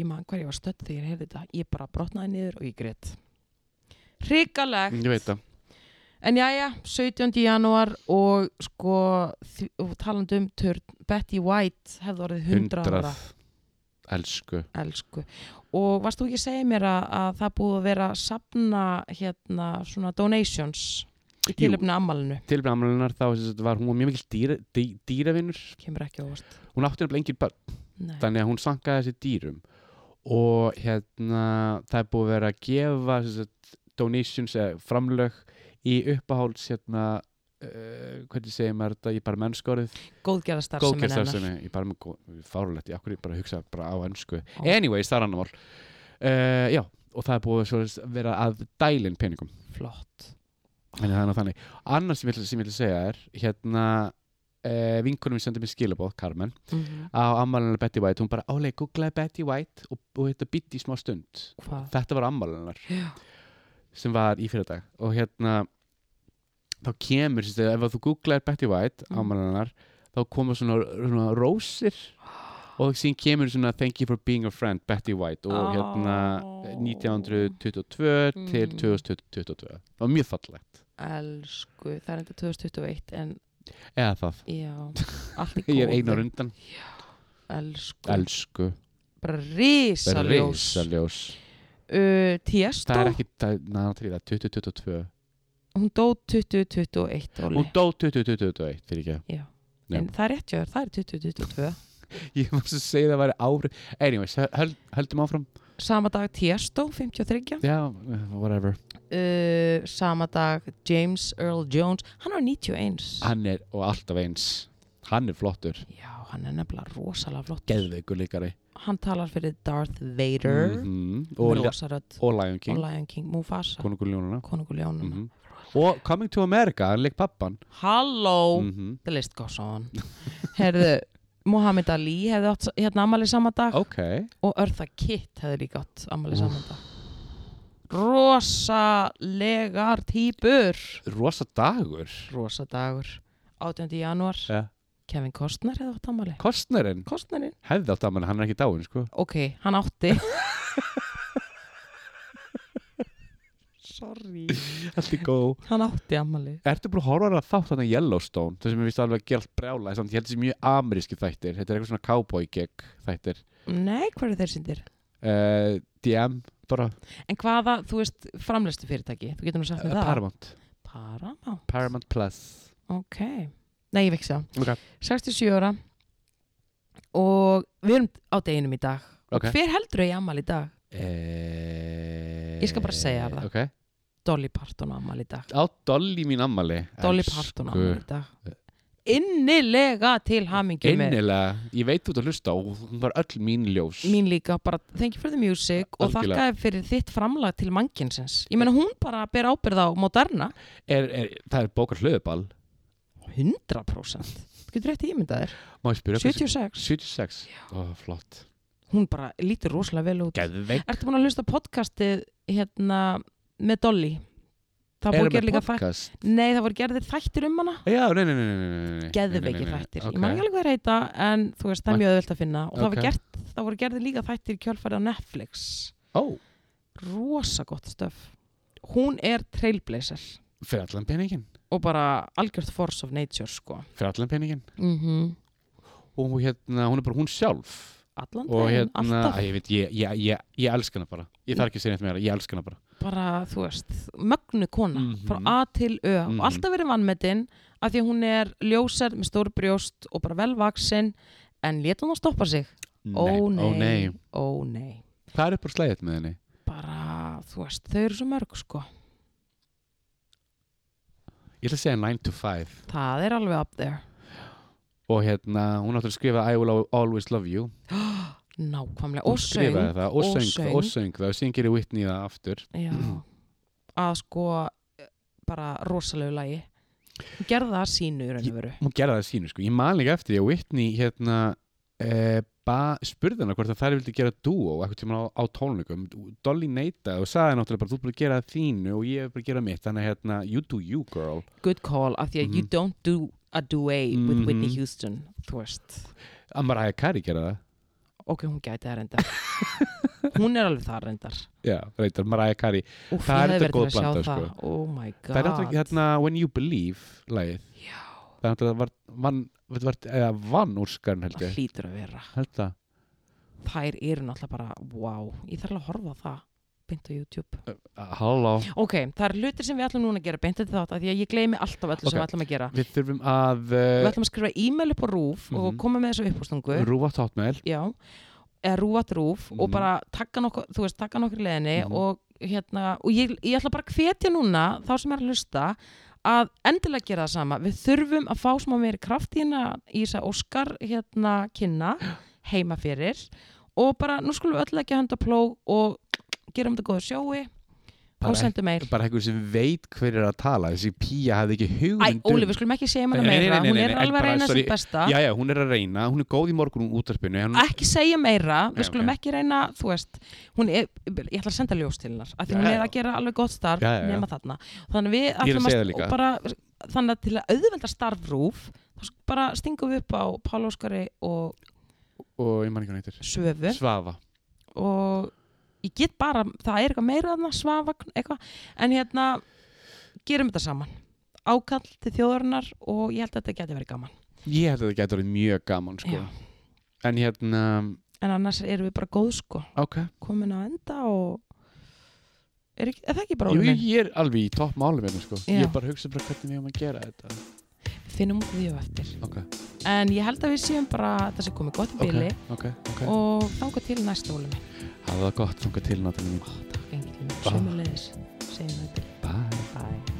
B: ég man hver ég var stödd þegar ég heyrði þetta ég bara brotnaði niður og ég greit hrikalegt
A: Ég veit það
B: En jæja, 17. janúar og sko, þv- og talandi um törn, Betty White hefði orðið 100 ára,
A: Hundrað Elsku
B: elsku. Og varst þú ekki að segja mér að, að það búið að vera að sapna hérna svona donations í
A: Jú.
B: tilöfni ammalinu,
A: Tilbæða amlunar þá sem sagt, var hún var mjög mikil dýra, dý, dýravinnur
B: kemur ekki ávast.
A: Hún átti nefnilega engin börn
B: Nei,
A: Þannig að hún sankaði þessi dýrum Og hérna það er búið að vera að gefa sem sagt, donations eða framlög í uppáhalds hérna Uh, hvernig segir maður þetta, ég er bara mennskorið
B: góðgerðastar sem er
A: góðgerðstarfsemi,
B: hennar.
A: ég er bara með góð, fárulegt, ég akkur ég bara hugsa bara á ennsku
B: Ó.
A: anyways, það er annar mál uh, já, og það er búið svo að vera að dælin peningum,
B: Flott.
A: þannig það er nú þannig annars sem ég ætla- sem ég vil segja er hérna uh, vinkunum við sendið mér skilabóð, Carmen
B: Mhm.
A: á ammælunar Betty White, hún bara álega googlaði Betty White og, og þetta bytti í smá stund
B: Hvað?
A: þetta var ammælunar
B: Já.
A: sem var í fyrirdag og hérna þá kemur, sérst, ef að þú googlaðir Betty White
B: Mm.
A: mm. ámælunar, þá koma svona, svona rósir og síðan kemur svona thank you for being a friend Betty White
B: Á.
A: og hérna 1922 til
B: Mm.
A: 2022 það var mjög fallegt
B: Elsku, það er enda 2021 en
A: eða það,
B: já, allt í góðu.
A: ég er einar undan
B: Elsku,
A: elsku,
B: bara risaljós.
A: reysaljós
B: Uh, Tiesto,
A: það er ekki, það er náttúrulega 2022
B: hún dó 2021 Óli.
A: hún dó 2021 fyrir
B: Já.
A: ekki Já.
B: En það er rétt hjá þér, það er 2022
A: ég var svo að segja það væri ári anyways, höld, höldum áfram
B: Sama dag Tiesto, 53
A: já, eh, whatever
B: uh, Sama dag James Earl Jones Hann var 91
A: hann er, og alltaf eins hann er flottur,
B: Já, hann er nefnilega rosalega flott
A: geðveikur líkari
B: Hann talar fyrir Darth Vader mm
A: -hmm.
B: -hmm.
A: og,
B: Rosarödd
A: og Lion
B: og
A: King
B: Lion King Mufasa,
A: konungur ljónuna
B: konungur ljónana
A: mm og Coming to America, hann leik pappan
B: Halló,
A: mm
B: the list goes on Herðu, Muhammad Ali hefði átt s- hérna ammali sama dag
A: ok,
B: og Örða Kitt hefði líka átt ammali saman dag rosalegar týpur
A: rosa dagur
B: rosadagur 18. januar
A: ja.
B: Kevin Costner hefði átt ammali
A: Kostnerinn
B: Costnerin?
A: hefði átt að mann, hann er ekki dáin sko.
B: Ok, hann átti Sorry
A: Allt í góð
B: Hann átti ammali
A: Ertu búin að horfa á þennan þátt þannig Yellowstone það sem ég vist alveg að gera allt brjála samt ég held þessi mjög ameríski þættir þetta er eitthvað svona cowboy gig þættir
B: Nei, hvað eru þeir sindir?
A: uh, DM bara
B: En hvaða, þú veist, framleistu fyrirtæki Þú getur nú sagt
A: uh,
B: með það
A: Paramount
B: Paramount
A: Paramount Plus
B: Ok Nei, ég veksa
A: Ok.
B: 67 ára Og við erum á deginum í dag
A: Ok.
B: Og hver heldur ég ammali í dag?
A: uh,
B: Ég skal bara segja það.
A: okay.
B: Dolly Parton á ammali í dag
A: Á Dolly mín ammali
B: Dolly Parton á ammali í dag Innilega til hamingi með
A: Einnilega, ég veit þú ert að hlusta og hún var öll mín ljós
B: mín líka, bara thank you for the music og
A: Algjörlega.
B: þakkaði fyrir þitt framlag til mannkinsins ég meina hún bara ber ábyrð á Moderna
A: er, er, Það er bókar hlöðuball
B: 100% Þú getur rétt ímyndað þér
A: Má ég spyrja
B: 76,
A: 76 Ó, flott
B: hún bara lítur rosalega vel út
A: Geðveik
B: Ertu búin að hlusta á podcastið hérna með Dolly það
A: Erum
B: voru
A: með
B: gerð líka þættir
A: podcast?
B: Nei, það voru gerðir þættir um hana
A: Já, nei, nei, nei, nei, nei, nei, nei
B: geðveiki
A: nei, nei, nei,
B: þættir,
A: ok.
B: ég man ekki alveg hvað þeir heita en þú veist, það er
A: Mæ-
B: mjög öðvöld að finna og það,
A: Ok.
B: var gert, það voru gerðir líka þættir í kjölfæri á Netflix
A: Ó,
B: rosa gott stöf hún er trailblazer
A: fyrir allan peningin
B: og bara algjört force of nature sko
A: Fyrir allan peningin
B: mm
A: Mhm. Og hérna, hún er bara hún sjálf
B: allan
A: Og
B: daginn,
A: hérna,
B: alltaf
A: æ, ég veit, ég, ég, ég, ég elska hana bara Ég þarf ekki að segja neitt meira, ég elska hana bara
B: bara, þú veist, mögnu kona
A: Mhm.
B: frá A til Ö
A: Mhm.
B: og alltaf verið vannmetinn af því að hún er ljósar með stóru brjóst og bara velvaksin en leta hún að stoppa sig ó nei,
A: ó nei
B: ó nei
A: Hvað er upp á slæðið með henni?
B: bara, þú veist, þau eru svo mörg sko
A: Ég ætla að segja 9 to 5
B: það er alveg up there
A: Og hérna, hún átti að skrifa I will always love you
B: nákvæmlega,
A: Hún
B: og söng
A: skrifaði það, og
B: og
A: söng,
B: söng.
A: það, og söng það og síðan gerir Whitney það aftur
B: Já,
A: Mhm.
B: að sko eh, bara rosalegu lagi Hún gerði það að sínu í raun og veru
A: hún gerði það sínu sko, ég man líka eftir því að Whitney hérna eh, ba, spurði hana hvort að þær vildi gera dúo eitthvað tíma á, á tónleikum, Dolly neitaði og sagði náttúrulega bara þú er bara að gera þínu og ég er bara að gera mitt, þannig að hérna you do you girl,
B: Good call, af því að you
A: Mhm.
B: don't do a duet with Whitney
A: Mhm.
B: Houston Þú veist,
A: Amara Hayakari gera það
B: ok, hún gæti það reyndar Hún er alveg það reyndar
A: Já, reyndar, Mariah Carey
B: Úf,
A: Það er
B: ég hefði
A: þetta
B: verið til að
A: góð
B: sjá
A: blanda,
B: það
A: sko.
B: Oh my god
A: Það er náttúrulega hérna When You Believe lagið
B: Já,
A: Það er náttúrulega var, vann, var, var, eða, vann úrskarn held
B: það
A: ég
B: hlýtur að vera
A: Held það
B: Þær eru náttúrulega bara, wow Ég þarf alveg að horfa á það beint á YouTube
A: Uh, Halló
B: Ok, það er hlutir sem við ætlum núna að gera beint eftir þátt af því að ég gleymi alltaf öllu sem
A: Ok.
B: við ætlum að gera
A: Við þurfum að
B: Við
A: uh,
B: ætlum að skrifa e-mail upp á rúf og
A: Mhm.
B: koma með þessu uppástungu
A: rúfa tóttmæl
B: já, eða rúvat rúf og
A: Mhm.
B: bara taka nokkur, þú veist, taka nokkur í leðinni
A: Mhm.
B: og hérna, og ég, ég ætla bara að hvetja núna, þá sem er að hlusta að endilega gera það sama við þurfum að fá smá meiri kraft í hérna í þess að Óskar hérna kynna heima fyrir og bara, nú skulum við öll ekki handa pló og gerum þetta góða sjói og sendum meil
A: bara einhver sem veit hver er að tala þessi pía hafði ekki um
B: Æ, sko.
A: hugmynd
B: Óli, við skulum ekki segja
A: Nei,
B: manna
A: nei,
B: meira
A: nei, nei,
B: hún
A: nei,
B: er
A: nei,
B: alveg að
A: bara,
B: reyna
A: sorry.
B: sitt besta
A: já, já, hún er að reyna, hún er góð í morgun úr útarpinu hún,
B: ekki segja meira, við
A: Nei,
B: skulum
A: ok.
B: ekki reyna þú veist, hún er, ég ætla að senda ljós til hennar, af því
A: Já,
B: hún
A: já.
B: er að gera alveg gott starf
A: Já, já, já.
B: nema þarna þannig að við
A: er að
B: ætlum
A: segja það líka.
B: og bara, þannig að til að auðvelda starfrúf þá sk- bara stingum við upp á Pál Óskari og
A: og ég man ekki hann heitir
B: Svöfu
A: Svafa
B: og ég get bara, það er eitthvað meira þarna, svafa, eitthvað en hérna, gerum þetta saman ákall til þjóðarinnar og ég held að þetta geti verið gaman
A: ég held að þetta getur orðið mjög gaman sko.
B: Já.
A: en hérna,
B: en annars erum við bara góð sko
A: ok
B: komin á enda og er, ekki, er það ekki bara
A: Jú,
B: Óli minn?
A: ég er alveg í topp málum hérna, sko.
B: Já.
A: ég er bara að hugsa bara hvernig við erum að gera þetta
B: finnum út af því á eftir
A: ok,
B: en ég held að við séum bara að það sé komið gott í
A: ok,
B: bili
A: ok, ok
B: og þanga til næsta Óli minn
A: hafa það gott, þunga til náttúrulega mín
B: Ó, takk enginn,
A: Bye.
B: sömulegis segjum þetta,
A: bye
B: bye